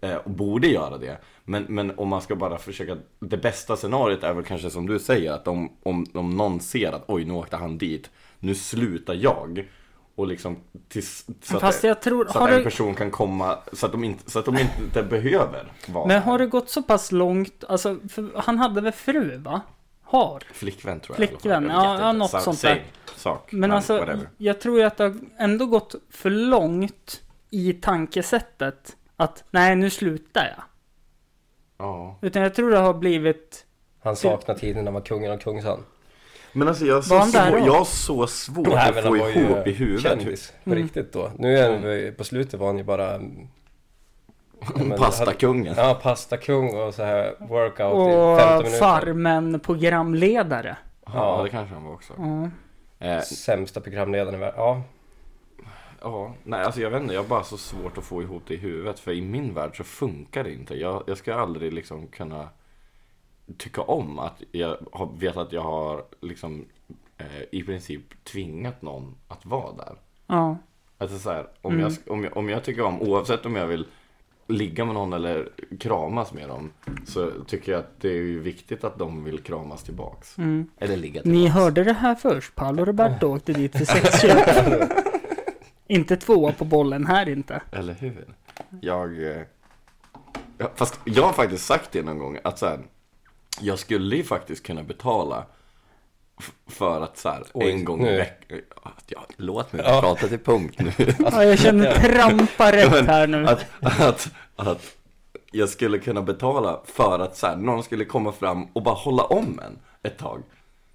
Speaker 1: eh, och borde göra det. Men, men om man ska bara försöka, det bästa scenariot är väl kanske som du säger att om, om, om någon ser att oj nu åkte han dit, nu slutar jag. Och liksom tills, så att-
Speaker 3: Fast jag tror,
Speaker 1: så
Speaker 3: har
Speaker 1: att en
Speaker 3: du,
Speaker 1: person kan komma, så att de inte, så att de inte behöver vara
Speaker 3: men har det gått så pass långt, alltså, för han hade väl fru va? Har.
Speaker 1: flickvän tror jag
Speaker 3: Flickvän,
Speaker 1: i alla fall. Jag vet
Speaker 3: ja,
Speaker 1: inte.
Speaker 3: ja, något
Speaker 1: Sa-
Speaker 3: sånt
Speaker 1: same
Speaker 3: där.
Speaker 1: sak,
Speaker 3: Men alltså,
Speaker 1: whatever.
Speaker 3: jag tror ju att det har ändå gått för långt i tankesättet att nej, nu slutar jag.
Speaker 1: Ja.
Speaker 3: Utan jag tror det har blivit,
Speaker 2: Han saknar tiden när man var kungen och kungsan.
Speaker 1: Men alltså jag har
Speaker 3: Var
Speaker 1: så,
Speaker 3: han där
Speaker 1: svår,
Speaker 3: då?
Speaker 1: jag har så svårt
Speaker 2: Nej,
Speaker 1: att
Speaker 2: men
Speaker 1: få
Speaker 2: han var ju
Speaker 1: ihop i huvudet. hur-
Speaker 2: kändis
Speaker 3: Mm.
Speaker 2: på riktigt då. Nu är han, ju- på slutet var han ju bara... mm, ja, men-
Speaker 1: Pastakungen.
Speaker 2: Ja, pastakung och så här workout i 15
Speaker 3: och
Speaker 2: minuter.
Speaker 3: farmen programledare.
Speaker 1: Ja, det kanske han var också.
Speaker 3: Ja.
Speaker 1: Eh,
Speaker 2: Sämsta programledaren i världen. Ja,
Speaker 1: Ja, nej alltså jag vet inte, jag har bara så svårt att få ihop det i huvudet för i min värld så funkar det inte. Jag, jag ska aldrig liksom kunna tycka om att jag har, vet att jag har liksom eh, i princip tvingat någon att vara där.
Speaker 3: ja.
Speaker 1: Alltså så här, om, jag, sk- om, jag, om jag tycker om, oavsett om jag vill ligga med någon eller kramas med dem så tycker jag att det är ju viktigt att de vill kramas tillbaks. Eller ligga tillbaks.
Speaker 3: Ni hörde det här först. Paolo Roberto åkte dit för sexköp. inte tvåa på bollen här inte.
Speaker 1: Eller hur? Jag... eh, ja, Fast jag har faktiskt sagt det någon gång att så här, jag skulle ju faktiskt kunna betala f- för att så här,
Speaker 2: Oj,
Speaker 1: en gång
Speaker 2: nu.
Speaker 1: i veckan... Ja, låt mig
Speaker 2: Ja.
Speaker 1: prata till punkt nu.
Speaker 3: Ja, jag känner trampa rätt här nu.
Speaker 1: att, att, att jag skulle kunna betala för att så här, någon skulle komma fram och bara hålla om en ett tag.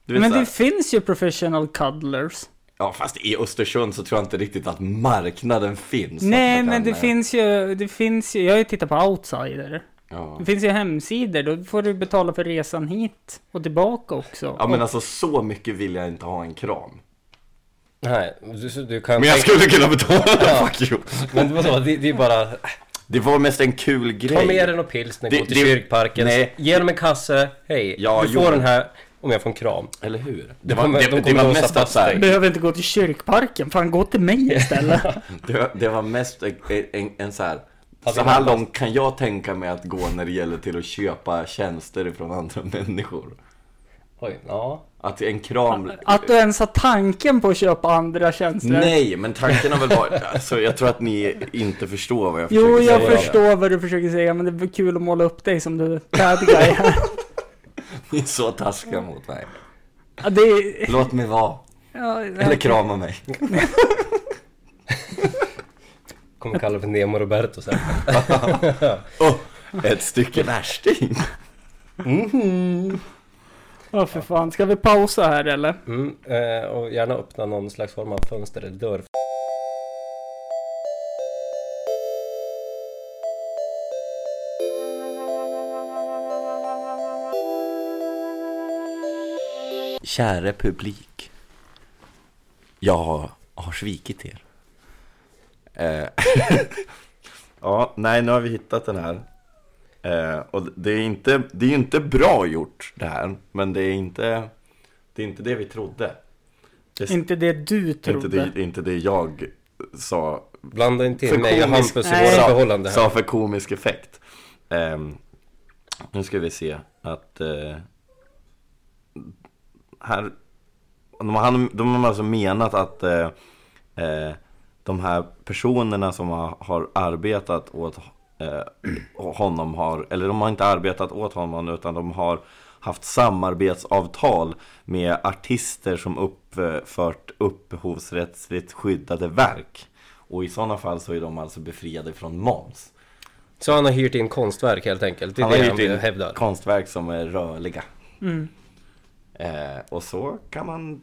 Speaker 1: Du vet,
Speaker 3: Men
Speaker 1: så här,
Speaker 3: det finns ju professional cuddlers.
Speaker 1: ja, fast i Östersund så tror jag inte riktigt att marknaden finns. att
Speaker 3: Nej,
Speaker 1: man
Speaker 3: men det
Speaker 1: eh,
Speaker 3: finns ju, det finns ju, jag har ju tittat på outsider.
Speaker 1: Ja.
Speaker 3: Det finns ju hemsidor, då får du betala för resan hit och tillbaka också.
Speaker 1: ja, men alltså så mycket vill jag inte ha en kram.
Speaker 2: nej. Du, så du kan
Speaker 1: Men jag
Speaker 2: tänka-
Speaker 1: skulle kunna betala, fuck you.
Speaker 2: Men vadå, det, det är bara...
Speaker 1: Det var mest en kul grej.
Speaker 2: Ta med dig någon pilsner, gå
Speaker 1: Det-
Speaker 2: till
Speaker 1: det-
Speaker 2: kyrkparken,
Speaker 1: nej.
Speaker 2: ge dem en kasse, hej,
Speaker 1: Ja,
Speaker 2: du
Speaker 1: jo.
Speaker 2: får den här om jag får en kram.
Speaker 1: Eller hur? Det
Speaker 2: De
Speaker 1: var,
Speaker 2: kommer-
Speaker 1: det,
Speaker 2: de kommer
Speaker 1: det var
Speaker 2: låsa
Speaker 1: mest
Speaker 2: fast
Speaker 1: att så här,
Speaker 2: dig.
Speaker 3: Behöver inte gå till kyrkparken, fan gå till mig istället.
Speaker 1: det, var- det var mest en, en, en så här.
Speaker 2: Hade
Speaker 1: Så här
Speaker 2: man-
Speaker 1: långt kan jag tänka mig att gå när det gäller till att köpa tjänster ifrån andra människor.
Speaker 2: Oj, ja.
Speaker 1: Att en kram...
Speaker 3: Att du ens har tanken på att köpa andra tjänster.
Speaker 1: Nej, men tanken har väl varit... Alltså, jag tror att ni inte förstår vad jag försöker
Speaker 3: Jo, jag
Speaker 1: säga.
Speaker 3: förstår vad du försöker säga, men det är väl kul att måla upp dig som du bad guy här.
Speaker 1: Ni är så taskiga mot mig.
Speaker 3: Ja, det är...
Speaker 1: Låt mig vara.
Speaker 3: Ja,
Speaker 1: Eller krama mig.
Speaker 2: Kommer kalla för Nemo Roberto sen.
Speaker 1: Oh, ett stycke värsting.
Speaker 3: Ja, för fan. Ska vi pausa här eller?
Speaker 2: Mm, eh, och gärna öppna någon slags form av fönster eller dörr.
Speaker 1: Käre publik. Jag har svikit er. Eh, ja, nej, nu har vi hittat den här. Eh, och det är inte, det är ju inte bra gjort det här, men det är inte, det är inte det vi trodde. Det,
Speaker 3: Inte det du
Speaker 1: inte,
Speaker 3: trodde.
Speaker 1: det, inte det jag sa
Speaker 2: Blanda inte
Speaker 1: För
Speaker 2: in mig och
Speaker 1: komisk-
Speaker 2: Hampus i
Speaker 3: Nej.
Speaker 2: våra
Speaker 1: sa,
Speaker 2: förhållanden här.
Speaker 1: sa för komisk effekt. Ehm, nu ska vi se att eh, här, de, har- han, de har alltså menat att eh, eh, de här personerna som har, har arbetat åt eh, honom har, eller de har inte arbetat åt honom utan de har haft samarbetsavtal med artister som uppfört upphovsrättsligt skyddade verk. Och i sådana fall så är de alltså befriade från moms.
Speaker 2: Så han har hyrt in konstverk helt enkelt. Det är
Speaker 1: Han har
Speaker 2: det
Speaker 1: hyrt
Speaker 2: han
Speaker 1: in
Speaker 2: hävdar.
Speaker 1: konstverk som är rörliga.
Speaker 3: Mm.
Speaker 1: Eh, och så kan man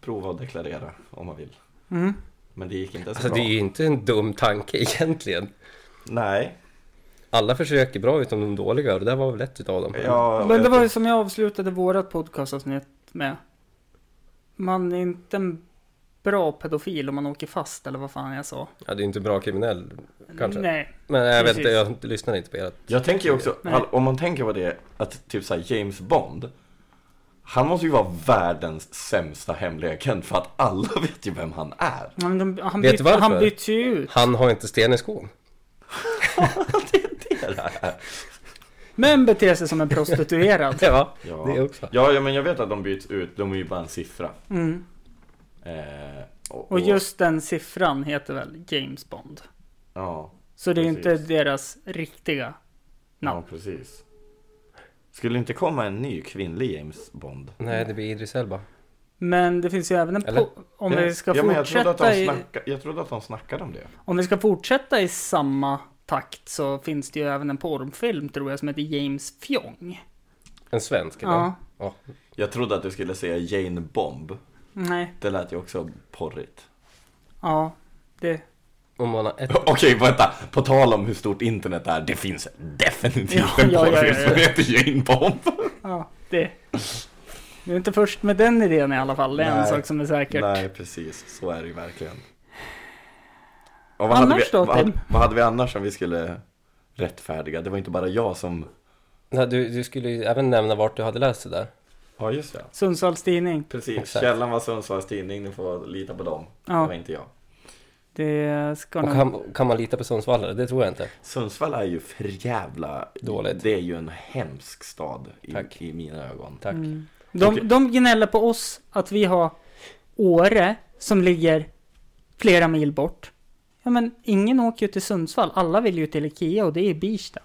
Speaker 1: prova att deklarera om man vill.
Speaker 3: Mm.
Speaker 1: Men det gick inte så
Speaker 2: Alltså, det
Speaker 1: bra.
Speaker 2: är ju inte en dum tanke egentligen.
Speaker 1: Nej.
Speaker 2: Alla försök är bra utom de dåliga och det där var väl ett utav dem.
Speaker 1: Ja,
Speaker 3: Men det var ju som jag avslutade vårat podcastavsnitt med. Man är inte en bra pedofil om man åker fast eller vad fan jag sa.
Speaker 2: Ja, det är inte bra kriminell kanske.
Speaker 3: Nej.
Speaker 2: Men jag vet inte,
Speaker 3: Precis.
Speaker 2: jag lyssnar inte på er.
Speaker 1: Jag tänker ju också,
Speaker 3: Nej.
Speaker 1: hall- om man tänker på det, att typ så här James Bond Han måste ju vara världens sämsta hemliga agent för att alla vet ju vem han är
Speaker 3: Men de, han,
Speaker 2: Vet du
Speaker 3: byt,
Speaker 2: varför?
Speaker 3: han byts ju ut.
Speaker 2: Han har inte sten i skon.
Speaker 3: Men beter sig som en prostituerad.
Speaker 2: Ja,
Speaker 1: Ja,
Speaker 2: det också.
Speaker 1: ja, ja men jag vet att de byts ut, de är ju bara en siffra
Speaker 3: Mm.
Speaker 1: eh, och,
Speaker 3: Och just den siffran heter väl James Bond.
Speaker 1: Ja,
Speaker 3: Så det är ju inte
Speaker 1: Precis.
Speaker 3: deras riktiga
Speaker 1: ja
Speaker 3: namn.
Speaker 1: precis Skulle inte komma en ny kvinnlig James Bond?
Speaker 2: Nej, det blir Idris Elba.
Speaker 3: Men det finns ju även en
Speaker 2: Eller?
Speaker 3: po- om
Speaker 1: Ja,
Speaker 3: vi ska
Speaker 1: ja, men jag, trodde att
Speaker 3: fortsätta
Speaker 1: de
Speaker 3: i,
Speaker 1: snacka, jag trodde att de snackade om det
Speaker 3: om vi ska fortsätta i samma takt så finns det ju även en porrfilm tror jag som heter James Fjong.
Speaker 2: En svensk, eller?
Speaker 3: Ja,
Speaker 2: Ja.
Speaker 1: Jag trodde att du skulle säga Jane Bomb
Speaker 3: nej,
Speaker 1: Det lät ju också porrigt
Speaker 3: ja, det,
Speaker 2: Om man har ett...
Speaker 1: Okej, vänta. På tal om hur stort internet är, det finns definitivt
Speaker 3: Ja,
Speaker 1: en
Speaker 3: ja, ja,
Speaker 1: porrfilm
Speaker 3: ja, ja.
Speaker 1: som heter Jane Bomb.
Speaker 3: ja, det. Du är inte först med den idén i alla fall, det är en
Speaker 1: Nej.
Speaker 3: sak som är säker.
Speaker 1: Nej, precis. Så är det ju verkligen. Och
Speaker 3: Annars
Speaker 1: hade
Speaker 3: då,
Speaker 1: vi, vad, hade-
Speaker 3: Tim?
Speaker 1: vad hade vi annars som vi skulle rättfärdiga? Det var inte bara jag som...
Speaker 2: Nej, du, du skulle ju även nämna vart du hade läst det där.
Speaker 1: Ja, just det.
Speaker 3: Sundsvalls Tidning,
Speaker 1: Precis.
Speaker 2: Exakt.
Speaker 1: Källan var Sundsvalls Tidning, ni får lita på dem. Det var
Speaker 3: ja,
Speaker 1: inte jag.
Speaker 3: det ska
Speaker 2: Och
Speaker 3: nog...
Speaker 2: kan, kan man lita på Sundsvallare? Det tror jag inte.
Speaker 1: Sundsvall är ju för jävla...
Speaker 2: Dåligt.
Speaker 1: Det är ju en hemsk stad
Speaker 2: Tack.
Speaker 1: i, i mina ögon.
Speaker 2: Tack.
Speaker 3: Mm. De,
Speaker 1: Okej.
Speaker 3: de gnäller på oss att vi har Åre som ligger flera mil bort. Ja men ingen åker ju till Sundsvall, alla vill ju till Ikea och det är Birsta.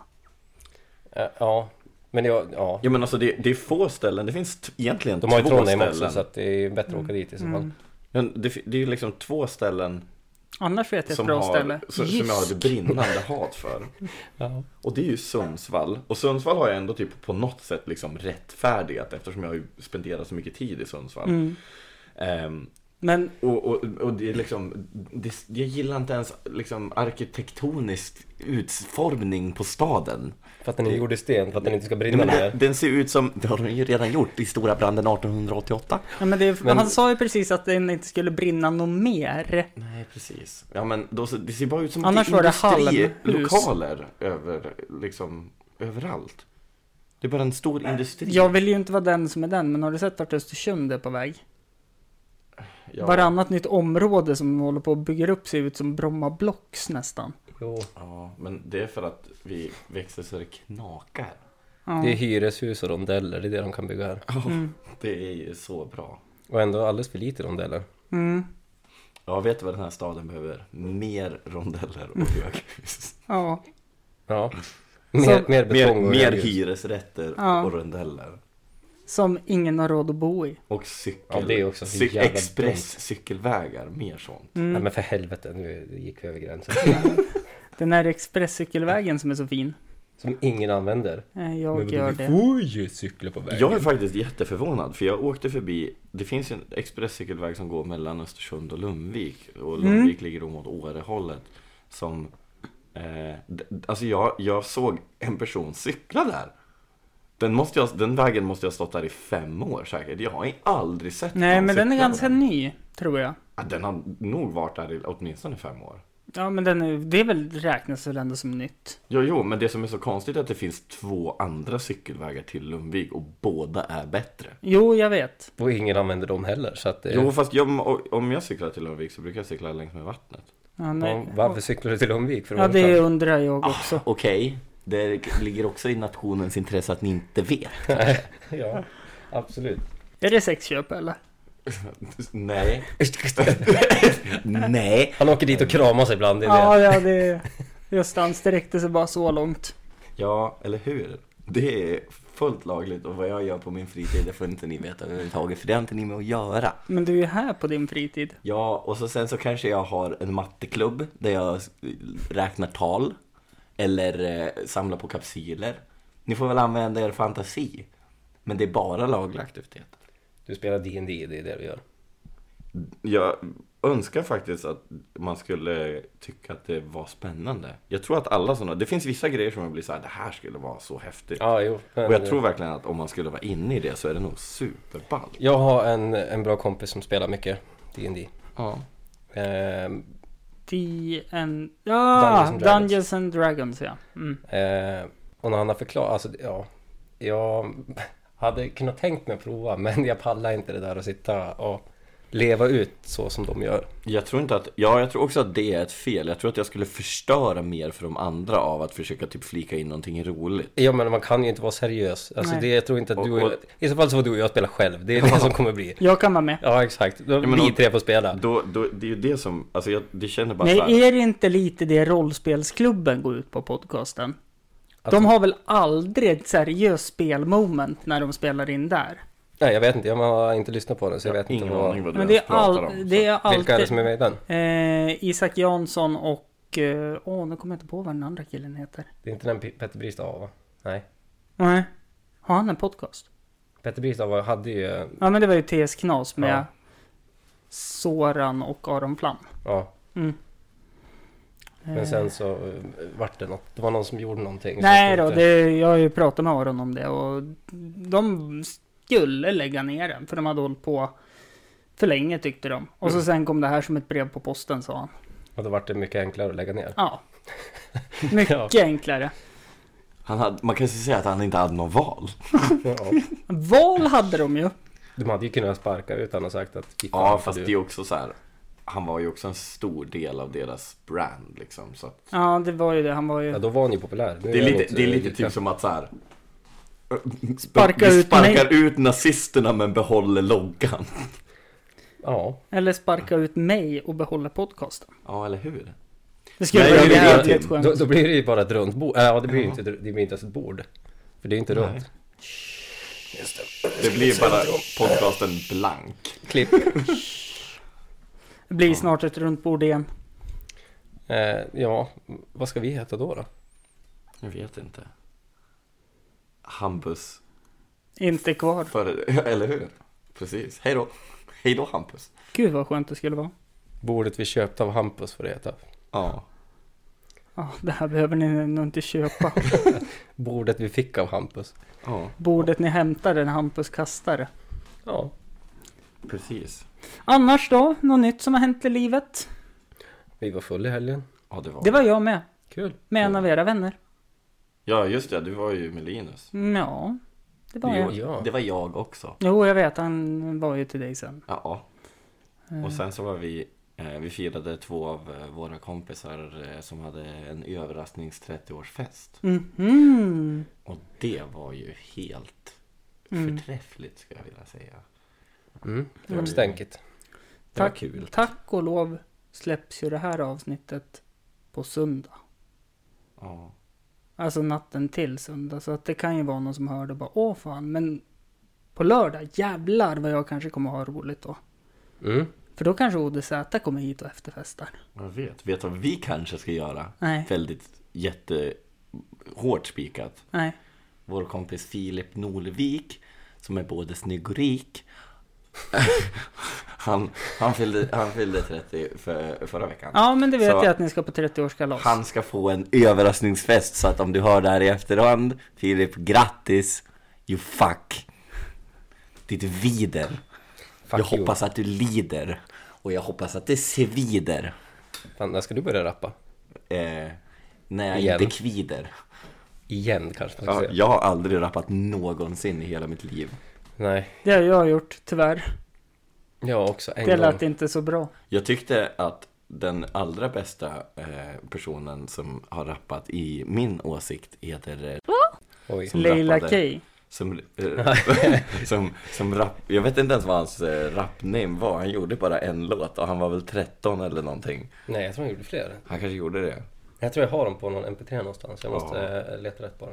Speaker 2: Eh, Ja, men jag, ja.
Speaker 1: Ja men alltså det, det är få ställen, det finns t- egentligen
Speaker 2: De har ju
Speaker 1: två
Speaker 2: Trondheim
Speaker 1: ställen.
Speaker 2: också så att det är bättre att åka dit i så fall.
Speaker 3: Mm.
Speaker 1: Men det, fi- det är ju liksom två ställen
Speaker 3: Annars vet jag ett
Speaker 1: som,
Speaker 3: bra
Speaker 1: har,
Speaker 3: ställe.
Speaker 1: så- som jag har det brinnande hat för.
Speaker 2: Ja.
Speaker 1: Och det är ju Sundsvall. Och Sundsvall har jag ändå typ på något sätt liksom rättfärdigat eftersom jag har ju spenderat så mycket tid i Sundsvall.
Speaker 3: Mm.
Speaker 1: Ehm,
Speaker 3: Men
Speaker 1: och, och, och det är liksom, det, jag gillar inte ens liksom arkitektonisk utformning på staden.
Speaker 2: För att den är gjord i sten, för att den inte ska
Speaker 1: Nej,
Speaker 2: brinna
Speaker 1: men det,
Speaker 2: ner.
Speaker 1: den ser ut som, det har de ju redan gjort i stora branden 1888.
Speaker 3: Ja, men det,
Speaker 2: Men-
Speaker 3: han sa ju precis att den inte skulle brinna något mer.
Speaker 1: Nej, precis. Ja, men då, ser- det ser bara ut som
Speaker 3: Annars var det halmhus.
Speaker 1: industrilokaler över, liksom, överallt. Det är bara en stor industri.
Speaker 3: Jag vill ju inte vara den som är den, men har du sett vart Östersund är på väg?
Speaker 1: Ja.
Speaker 3: Varannat nytt område som håller på och bygger upp ser ut som Bromma Blocks nästan.
Speaker 2: Jo.
Speaker 1: Ja, men det är för att vi växer så det knakar.
Speaker 3: Ja.
Speaker 2: Det är hyreshus och rondeller, det är det de kan bygga här.
Speaker 3: Mm.
Speaker 1: Det är ju så bra.
Speaker 2: Och ändå alldeles för lite rondeller.
Speaker 3: Mm.
Speaker 1: Ja, vet du vad den här staden behöver? Mer rondeller
Speaker 2: Mm.
Speaker 1: och höghus.
Speaker 3: Ja.
Speaker 2: Ja. Mer,
Speaker 3: Så-
Speaker 2: mer
Speaker 1: mer,
Speaker 2: betong och
Speaker 1: mer
Speaker 2: hyreshus.
Speaker 1: hyresrätter
Speaker 3: Ja.
Speaker 1: och rondeller.
Speaker 3: Som ingen har råd att bo i.
Speaker 1: Och cykel,
Speaker 2: Ja, det är också så jävla dumt.
Speaker 1: expresscykelvägar, mer sånt.
Speaker 2: Nej
Speaker 3: Mm.
Speaker 2: men för helvete, nu gick vi över gränsen.
Speaker 3: Den här expresscykelvägen som är så fin.
Speaker 2: Som ingen använder.
Speaker 3: Eh, Jag
Speaker 2: men
Speaker 3: gör
Speaker 2: du
Speaker 3: det.
Speaker 2: får ju cykla på vägen.
Speaker 1: Jag är faktiskt jätteförvånad för jag åkte förbi Det finns ju en expresscykelväg som går mellan Östersund och Lundvik Och
Speaker 3: Mm.
Speaker 1: Lundvik ligger då mot Årehållet Som eh, d- Alltså jag, jag såg en person cykla där den, måste jag, den vägen måste jag ha stått där i fem år säkert Jag har aldrig sett
Speaker 3: Nej,
Speaker 1: någon
Speaker 3: men den är
Speaker 1: cykla på
Speaker 3: ganska ny, tror jag.
Speaker 1: Ja, Den har nog varit där i åtminstone fem år
Speaker 3: Ja, men den är, det är väl, räknas väl ändå som nytt.
Speaker 1: Jo, jo, men det som är så konstigt är att det finns två andra cykelvägar till Lundvik och båda är bättre
Speaker 3: Jo, jag vet.
Speaker 2: Och ingen använder dem heller. Så att det...
Speaker 1: Jo, fast jag, om jag cyklar till Lundvik så brukar jag cykla längs med vattnet
Speaker 3: Ja,
Speaker 2: ja,
Speaker 3: nej.
Speaker 2: varför cyklar du till Lundvik? För
Speaker 3: ja
Speaker 2: att
Speaker 3: det
Speaker 2: åka?
Speaker 3: undrar
Speaker 1: Ah.
Speaker 3: jag också.
Speaker 1: Okej, det ligger också i nationens intresse att ni inte vet.
Speaker 2: ja, absolut.
Speaker 3: Är det sexköp eller?
Speaker 1: Nej. Nej.
Speaker 2: Han åker dit och kramas ibland. Det är
Speaker 3: Ja,
Speaker 2: det.
Speaker 3: ja, det... Just han sträckte sig bara så långt.
Speaker 1: Ja, eller hur? Det är fullt lagligt och vad jag gör på min fritid det får inte ni veta överhuvudtaget för det har inte ni med att göra.
Speaker 3: Men du är här på din fritid.
Speaker 1: Ja, och så sen så kanske jag har en matteklubb där jag räknar tal eller eh, samlar på kapsyler. Ni får väl använda er fantasi. Men det är bara laglig aktivitet.
Speaker 2: Du spelar D&D, det är det du gör.
Speaker 1: Jag önskar faktiskt att man skulle tycka att det var spännande. Jag tror att alla sådana, det finns vissa grejer som jag blir så här, det här skulle vara så häftigt.
Speaker 2: Ja, jo. men-
Speaker 1: Och jag tror verkligen att om man skulle vara inne i det så är det nog superballt.
Speaker 2: Jag har en, en bra kompis som spelar mycket D&D.
Speaker 1: Ja.
Speaker 2: Ehm,
Speaker 3: DN...
Speaker 2: Dungeons
Speaker 3: Ja,
Speaker 2: and Dragons.
Speaker 3: Dungeons, and Dragons ja. Mm.
Speaker 2: Eh, och när han har förklarat, alltså ja, jag hade kunnat tänkt mig att prova men jag pallar inte det där att sitta och leva ut så som de gör.
Speaker 1: Jag tror inte att, ja jag tror också att det är ett fel. Jag tror att jag skulle förstöra mer för de andra av att försöka typ flika in någonting roligt.
Speaker 2: Ja men man kan ju inte vara seriös. Alltså
Speaker 3: Nej.
Speaker 2: det jag tror inte att du och,
Speaker 1: Och- och-
Speaker 2: i så fall så får du och jag spela själv. Det är det som kommer bli.
Speaker 3: Jag kan vara med.
Speaker 2: Ja exakt, då
Speaker 1: men
Speaker 2: vi
Speaker 1: och-
Speaker 2: tre får spela.
Speaker 1: Då, då, det är ju det som, alltså jag, det känner bara
Speaker 3: Nej,
Speaker 1: så här,
Speaker 3: är det inte lite det rollspelsklubben går ut på podcasten?
Speaker 2: Alltså-
Speaker 3: De har väl aldrig ett seriöst spelmoment när de spelar in där?
Speaker 2: Nej jag vet inte, jag har inte lyssnat på den så jag, vet inte
Speaker 1: ingen
Speaker 2: vad...
Speaker 1: aning vad du
Speaker 3: Men det
Speaker 1: ens
Speaker 3: är,
Speaker 1: pratar
Speaker 3: all,
Speaker 1: om.
Speaker 3: det är alltid...
Speaker 2: Vilka är det som är med i den?
Speaker 3: Eh, Isak Jansson och... eh, Åh, nu kommer jag inte på vad den andra killen heter.
Speaker 2: Det är inte den P- Petter Bristav va? Nej.
Speaker 3: Nej. Har han en podcast?
Speaker 2: Petter Bristav hade ju,
Speaker 3: Ja, men det var ju TS Knas med
Speaker 2: Ja.
Speaker 3: Soran och Aron Flam.
Speaker 2: ja.
Speaker 3: Mm.
Speaker 2: Men sen så eh, vart det något, det var någon som gjorde någonting. så
Speaker 3: Nej
Speaker 2: jag tror
Speaker 3: då,
Speaker 2: inte-
Speaker 3: det, jag har ju pratat med Aron om det och de skulle lägga ner den för de hade hållit på för länge tyckte de. Och
Speaker 2: Mm.
Speaker 3: så sen kom det här som ett brev på posten sa han.
Speaker 2: Och då vart det mycket enklare att lägga ner.
Speaker 3: Ja. Mycket enklare.
Speaker 1: Han hade, man kan ju säga att han inte hade något val.
Speaker 2: Ja.
Speaker 3: Val hade de ju.
Speaker 2: De hade ju kunnat sparka ut honom och sagt att "Fy fan,
Speaker 1: Ja,
Speaker 2: för
Speaker 1: fast
Speaker 2: du."
Speaker 1: det är också så här. Han var ju också en stor del av deras brand liksom. Så att
Speaker 3: Ja, det var ju det. Han var
Speaker 2: Ja,
Speaker 3: ju...
Speaker 2: då var han ju populär. Nu
Speaker 1: det, är
Speaker 2: han
Speaker 1: lite,
Speaker 2: inte-
Speaker 1: det är lite typ som att så här.
Speaker 3: Sparka
Speaker 1: vi
Speaker 3: ut
Speaker 1: sparkar ut nazisterna men behåller loggan.
Speaker 2: Ja.
Speaker 3: Eller sparka ut mig och behålla podcasten.
Speaker 1: Ja, eller hur?
Speaker 3: Det skulle
Speaker 1: Nej,
Speaker 3: vara
Speaker 1: jag vill göra
Speaker 3: jävligt
Speaker 1: till-
Speaker 3: skönt.
Speaker 2: Då, då blir det ju bara ett runt bord. Äh, ja, det blir ju inte, det blir inte ens ett bord. För det är ju inte runt.
Speaker 1: Det blir bara podcasten blank.
Speaker 2: Klipp.
Speaker 3: Det blir snart ett runt bord igen.
Speaker 2: Eh, ja, vad ska vi heta då? då?
Speaker 1: Jag vet inte. Hampus.
Speaker 3: Inte kvar.
Speaker 1: För, eller hur? Precis. Hej då. Hej då Hampus.
Speaker 3: Gud vad skönt det skulle vara.
Speaker 2: Bordet vi köpte av Hampus får det heta.
Speaker 1: Ja.
Speaker 3: Ja, det här behöver ni nog inte köpa.
Speaker 2: Bordet vi fick av Hampus.
Speaker 1: Ja,
Speaker 3: Bordet ni hämtade när Hampus kastade.
Speaker 2: Ja.
Speaker 1: precis.
Speaker 3: Annars då? Något nytt som har hänt i livet?
Speaker 2: Vi var fulla i helgen.
Speaker 1: Ja, det var
Speaker 3: Det var jag med.
Speaker 2: Kul.
Speaker 3: Med en av era vänner.
Speaker 1: Ja, just det. Du var ju med Linus.
Speaker 3: Mm, Ja, det var
Speaker 1: Det
Speaker 3: jag.
Speaker 2: Ja.
Speaker 1: Det var jag också.
Speaker 3: Jo, jag vet. Han var ju till dig sen.
Speaker 1: Ja. Och sen så var vi eh, Eh, Vi firade två av eh, våra kompisar eh, som hade en överrasknings 30-årsfest.
Speaker 3: Mhm.
Speaker 1: Och det var ju helt
Speaker 3: Mm.
Speaker 1: förträffligt ska jag vilja säga.
Speaker 2: Mm. Det
Speaker 1: Mm.
Speaker 2: var stänkigt.
Speaker 1: Det var
Speaker 3: Tack.
Speaker 1: kul.
Speaker 3: Tack och lov släpps ju det här avsnittet på söndag.
Speaker 1: Ja.
Speaker 3: Alltså natten till söndag. Så att det kan ju vara någon som hör det och bara åh fan. Men på lördag, jävlar vad jag kanske kommer ha roligt då.
Speaker 2: Mm.
Speaker 3: För då kanske ODZ kommer hit och efterfestar.
Speaker 1: Jag vet. Vet du vad vi kanske ska göra?
Speaker 3: Nej,
Speaker 1: Väldigt jättehårt spikat.
Speaker 3: nej.
Speaker 1: Vår kompis Filip Norvik, som är både snygg och rik. han, han, fyllde, han fyllde 30 för, förra veckan.
Speaker 3: Ja men det vet
Speaker 1: Så-
Speaker 3: jag att ni ska på 30-årskalas.
Speaker 1: Han ska få en överraskningsfest så att om du hör det här i efterhand Filip, grattis! You fuck! Ditt vider!
Speaker 2: Fuck
Speaker 1: jag
Speaker 2: you.
Speaker 1: hoppas att du lider och jag hoppas att det svider
Speaker 2: Fan, när ska du börja rappa?
Speaker 1: eh, när jag
Speaker 2: Igen.
Speaker 1: inte kvider.
Speaker 2: Igen kanske man ska
Speaker 1: Ja,
Speaker 2: säga.
Speaker 1: jag har aldrig rappat någonsin i hela mitt liv.
Speaker 2: Nej,
Speaker 3: Det har jag gjort, tyvärr.
Speaker 2: jag också. En
Speaker 3: Det
Speaker 2: gång.
Speaker 3: lät inte så bra.
Speaker 1: Jag tyckte att den allra bästa eh, personen som har rappat i min åsikt heter eh,
Speaker 2: Oj.
Speaker 1: Som
Speaker 3: Leila
Speaker 1: rappade.
Speaker 3: Kay.
Speaker 1: Som, eh, som, som rap, jag vet inte ens vad hans eh, rapname var, han gjorde bara en låt och han var väl 13 eller någonting
Speaker 2: Nej, jag tror han gjorde fler.
Speaker 1: Han kanske gjorde det
Speaker 2: Jag tror jag har dem på någon MP3 någonstans. Jag
Speaker 1: Ja.
Speaker 2: måste eh, leta rätt på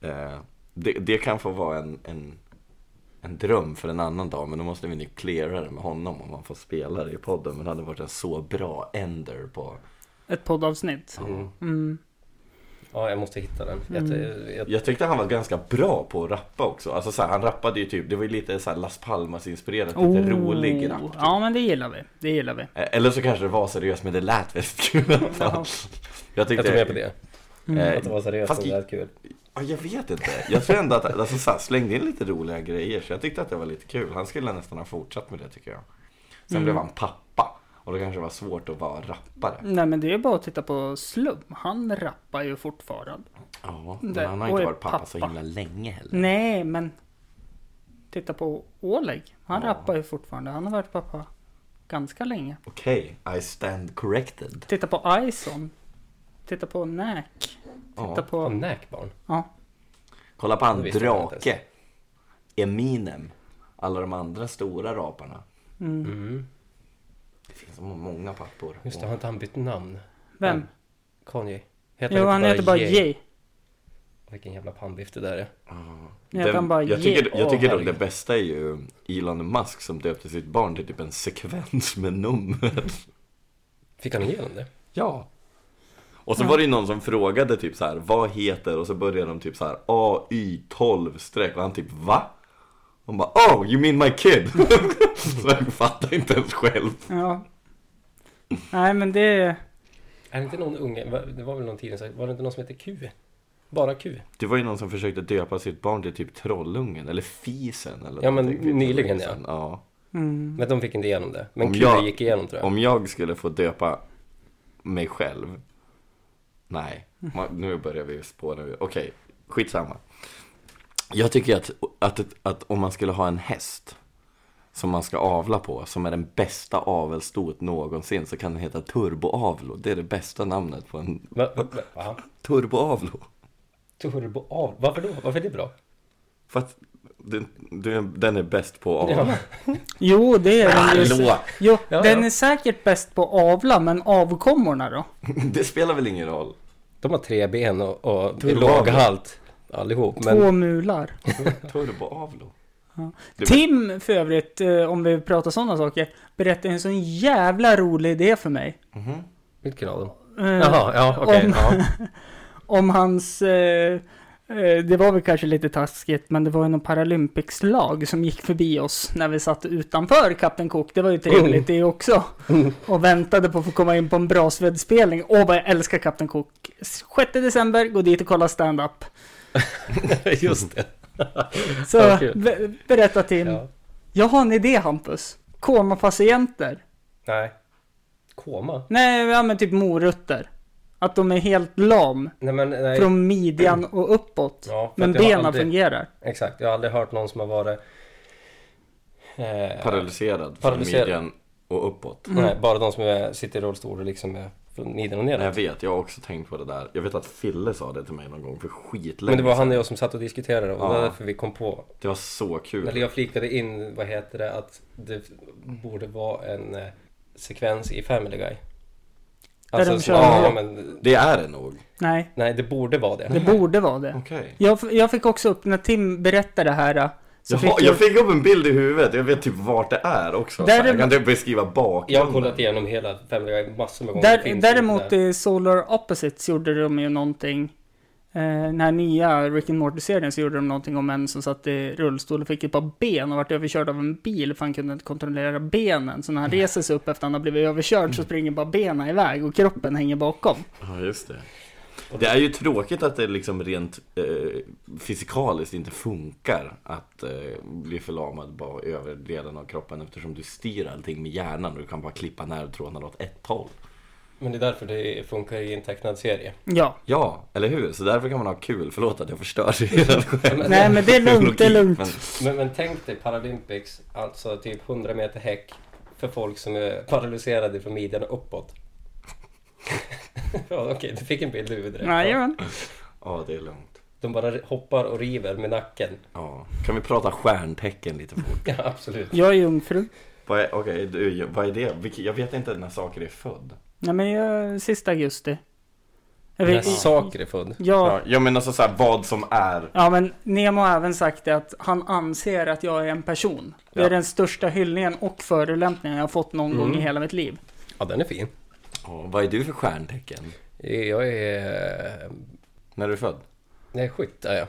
Speaker 2: den.
Speaker 1: eh, det, det kan få vara en, en, en dröm för en annan dag men då måste vi nu cleara det med honom om han får spela det i podden Men det hade varit en så bra ender på
Speaker 3: Ett poddavsnitt.
Speaker 2: Mm.
Speaker 3: Mm.
Speaker 2: Ja, jag måste hitta den. Jag, jag,
Speaker 1: Jag tyckte han var ganska bra på att rappa också Alltså så här, han rappade ju typ, det var ju lite så här Las Palmas inspirerat, lite
Speaker 3: Oh.
Speaker 1: rolig rap typ.
Speaker 3: Ja men det gillar vi. Det gillar vi.
Speaker 1: Eh, Eller så kanske det var seriöst men det lät väldigt kul i alla fall. Jag
Speaker 2: jag
Speaker 1: tyckte...
Speaker 2: tror med på det. Mm.
Speaker 1: Eh,
Speaker 2: Att det var seriöst
Speaker 1: fast
Speaker 2: och
Speaker 1: i-
Speaker 2: det lät kul.
Speaker 1: ja, jag vet inte. Jag tror ändå att alltså, så här, slängde in lite roliga grejer så jag tyckte att det var lite kul. Han skulle nästan ha fortsatt med det tycker jag. Sen
Speaker 2: Mm.
Speaker 1: blev han pappa och då kanske det var svårt att vara
Speaker 2: Mm.
Speaker 1: rappare.
Speaker 3: Nej men det är bara att titta på Slum. Han rappar ju fortfarande.
Speaker 1: Ja,
Speaker 3: Det-
Speaker 1: men han har
Speaker 3: och
Speaker 1: inte
Speaker 3: är
Speaker 1: varit pappa, så
Speaker 3: pappa.
Speaker 1: himla länge heller.
Speaker 3: Nej men. Titta på Oleg. Han
Speaker 1: Ja.
Speaker 3: rappar ju fortfarande. Han har varit pappa ganska länge.
Speaker 1: Okej, I stand corrected.
Speaker 3: Titta på Ison. Titta på Nack.
Speaker 1: Ja. Mm.
Speaker 3: Titta
Speaker 2: Vad
Speaker 3: på...
Speaker 2: näkbarn.
Speaker 3: Ja.
Speaker 1: Kolla på han
Speaker 2: Det visste jag inte
Speaker 1: Drake. Eminem. Alla de andra stora raparna.
Speaker 2: Mm.
Speaker 1: Det finns så många pappor.
Speaker 2: Just det, har inte han bytt namn?
Speaker 3: Vem?
Speaker 2: Kanye. Heter
Speaker 3: Jo han
Speaker 2: inte
Speaker 3: heter bara
Speaker 2: Ye?
Speaker 3: Ye.
Speaker 2: Vilken jävla pannbiff det där är.
Speaker 3: Jag kan bara
Speaker 1: jag
Speaker 3: ge-
Speaker 1: tycker, jag
Speaker 2: Åh,
Speaker 1: tycker nog
Speaker 2: herregud.
Speaker 1: det bästa är ju Elon Musk som döpte sitt barn till typ en sekvens med nummer.
Speaker 2: Fick han igenom det?
Speaker 1: Ja. Och så var det ju någon som frågade typ så här, vad heter? Och så började de typ så här AY12 streck och han typ va? Hon bara oh you mean my kid? så han fattar inte ens själv.
Speaker 3: Ja. Nej men det...
Speaker 2: Är det inte någon unge, va- det var väl någon tidning, som- var det inte någon som hette Q? Bara Q?
Speaker 1: Det var ju någon som försökte döpa sitt barn till typ Trollungen eller Fisen eller
Speaker 2: Ja, men
Speaker 1: någonting. Det är typ
Speaker 2: nyligen,
Speaker 1: länge sedan. ja.
Speaker 3: Mm.
Speaker 2: Men de fick inte igenom det. Men
Speaker 1: Om
Speaker 2: Q
Speaker 1: jag-
Speaker 2: gick igenom tror jag.
Speaker 1: Om jag skulle få döpa mig själv Nej, ma- nu börjar vi spåra ur. Okej, skitsamma Jag tycker att, att, att om man skulle ha en häst Som man ska avla på, som är den bästa avelsstoet någonsin Så kan den heta turboavlo Det är det bästa namnet på en
Speaker 2: Va, va, va, va?
Speaker 1: turboavlo
Speaker 2: Turbo av. Varför då? Varför är det bra?
Speaker 1: För att den, den- den är bäst på att avla
Speaker 3: Jo, det är den ju.
Speaker 1: Hallå!
Speaker 3: Jo,
Speaker 2: Ja,
Speaker 3: den
Speaker 2: ja.
Speaker 3: är säkert bäst på att avla, men avkommorna då?
Speaker 1: Det spelar väl ingen roll?
Speaker 2: De har tre ben och, och
Speaker 1: Turbo
Speaker 2: låg
Speaker 1: av.
Speaker 2: halt allihop. Men
Speaker 3: Två mular.
Speaker 1: Turboavlo Det-
Speaker 3: Tim för övrigt, eh, om vi pratar sådana saker, berättade en sån jävla rolig idé för mig.
Speaker 2: vilken av dem?
Speaker 3: Eh,
Speaker 2: Jaha, ja okej.
Speaker 3: om-
Speaker 2: ja.
Speaker 3: Om hans... Eh, eh, det var väl kanske lite taskigt, men det var ju någon Paralympics-lag som gick förbi oss när vi satt utanför Kapten Cook. Det var ju trevligt det också.
Speaker 2: Mm.
Speaker 3: Och väntade på att få komma in på en Brasved-spelning. Åh, vad jag älskar Kapten Cook. 6 december, gå dit och kolla stand-up.
Speaker 2: Just det.
Speaker 3: Så
Speaker 2: Ja, kul.
Speaker 3: be- berätta Tim.
Speaker 2: Ja.
Speaker 3: Jag har en idé Hampus. Komapatienter.
Speaker 2: Nej. Koma?
Speaker 3: Nej, ja men typ morötter. Att de är helt lam
Speaker 2: Nej men nej.
Speaker 3: från midjan och uppåt.
Speaker 2: Ja, för att
Speaker 3: men
Speaker 2: jag har
Speaker 3: benen
Speaker 2: aldrig-
Speaker 3: fungerar.
Speaker 2: Exakt, jag har aldrig hört någon som har varit... Eh,
Speaker 1: Paralyserad
Speaker 2: Paralyserad.
Speaker 1: från midjan och uppåt.
Speaker 2: Nej,
Speaker 3: Mm.
Speaker 2: bara de som är, sitter i rullstol och liksom är från midjan och
Speaker 1: Nej, Jag
Speaker 2: neråt.
Speaker 1: vet, jag har också tänkt på det där. Jag vet att Fille sa det till mig någon gång för skitlänge
Speaker 2: Men det var han
Speaker 1: sedan.
Speaker 2: och jag som satt och diskuterade och
Speaker 1: Ja.
Speaker 2: det var därför vi kom på.
Speaker 1: Det var så
Speaker 2: Eller
Speaker 1: kul.
Speaker 2: jag flikade in, vad heter det, att det borde vara en eh, sekvens i Family Guy. Alltså,
Speaker 3: de
Speaker 2: så-
Speaker 3: kör-
Speaker 2: ja, men,
Speaker 1: Det är det nog.
Speaker 3: Nej,
Speaker 2: nej, det borde vara det.
Speaker 3: det borde vara det.
Speaker 1: Okej.
Speaker 3: Jag, f- jag fick också upp, när Tim berättade det här äh, så
Speaker 1: Jag,
Speaker 3: fick
Speaker 1: har-
Speaker 3: jag,
Speaker 1: jag fick upp en bild i huvudet, jag vet typ vart det är också.
Speaker 3: Där
Speaker 1: så här.
Speaker 3: är-
Speaker 1: Jag kan typ beskriva bakgrunden.
Speaker 2: Jag har kollat igenom hela Family Guy massor med gånger. Det
Speaker 3: där,
Speaker 2: finns
Speaker 3: däremot
Speaker 2: inte där.
Speaker 3: i Solar Opposites gjorde de ju någonting. Eh, den här nya Rick and Morty-serien så gjorde de någonting om en som satt i rullstol och fick ett par ben och vart överkörd av en bil för han kunde inte kontrollera benen. Så när han reser sig upp efter att han har blivit överkörd så springer bara benen iväg och kroppen hänger bakom.
Speaker 1: Ja, just det. Det är ju tråkigt att det liksom rent eh, fysikaliskt inte funkar att eh, bli förlamad bara över delen av kroppen eftersom du styr allting med hjärnan och du kan bara klippa nervtrådarna åt ett håll.
Speaker 2: Men det är därför det funkar i en tecknad serie.
Speaker 3: Ja,
Speaker 1: Ja, eller hur? Så därför kan man ha kul. Förlåt att jag förstörde hela själv.
Speaker 3: nej men det är lugnt, det är lugnt.
Speaker 2: Men, men tänk dig Paralympics, alltså typ 100 meter häck för folk som är paralyserade från midjan och uppåt. ja, Okej, du fick en bild i huvudet.
Speaker 3: Jajamän.
Speaker 1: Ja, det är lugnt.
Speaker 2: De bara hoppar och river med nacken.
Speaker 1: Ja. Kan vi prata stjärntecken lite fort?
Speaker 2: Ja, absolut.
Speaker 3: Jag är jungfru.
Speaker 1: Vad är- Okej, du, vad är det? Vilket- Jag vet inte när saker är född.
Speaker 3: Nej men jag, sista augusti. Jag
Speaker 2: När
Speaker 3: vet-
Speaker 2: saker är född.
Speaker 3: ja,
Speaker 1: Ja, jag menar så så här, vad som är.
Speaker 3: Ja, men Nemo har även sagt det att han anser att jag är en person. Det är
Speaker 1: Ja.
Speaker 3: den största hyllningen och förolämpningen jag har fått någon gång i hela mitt liv.
Speaker 2: Ja, den är fin.
Speaker 1: Ja, vad är du för stjärntecken?
Speaker 2: Jag är...
Speaker 1: När du är född?
Speaker 2: Jag är skytt, är jag.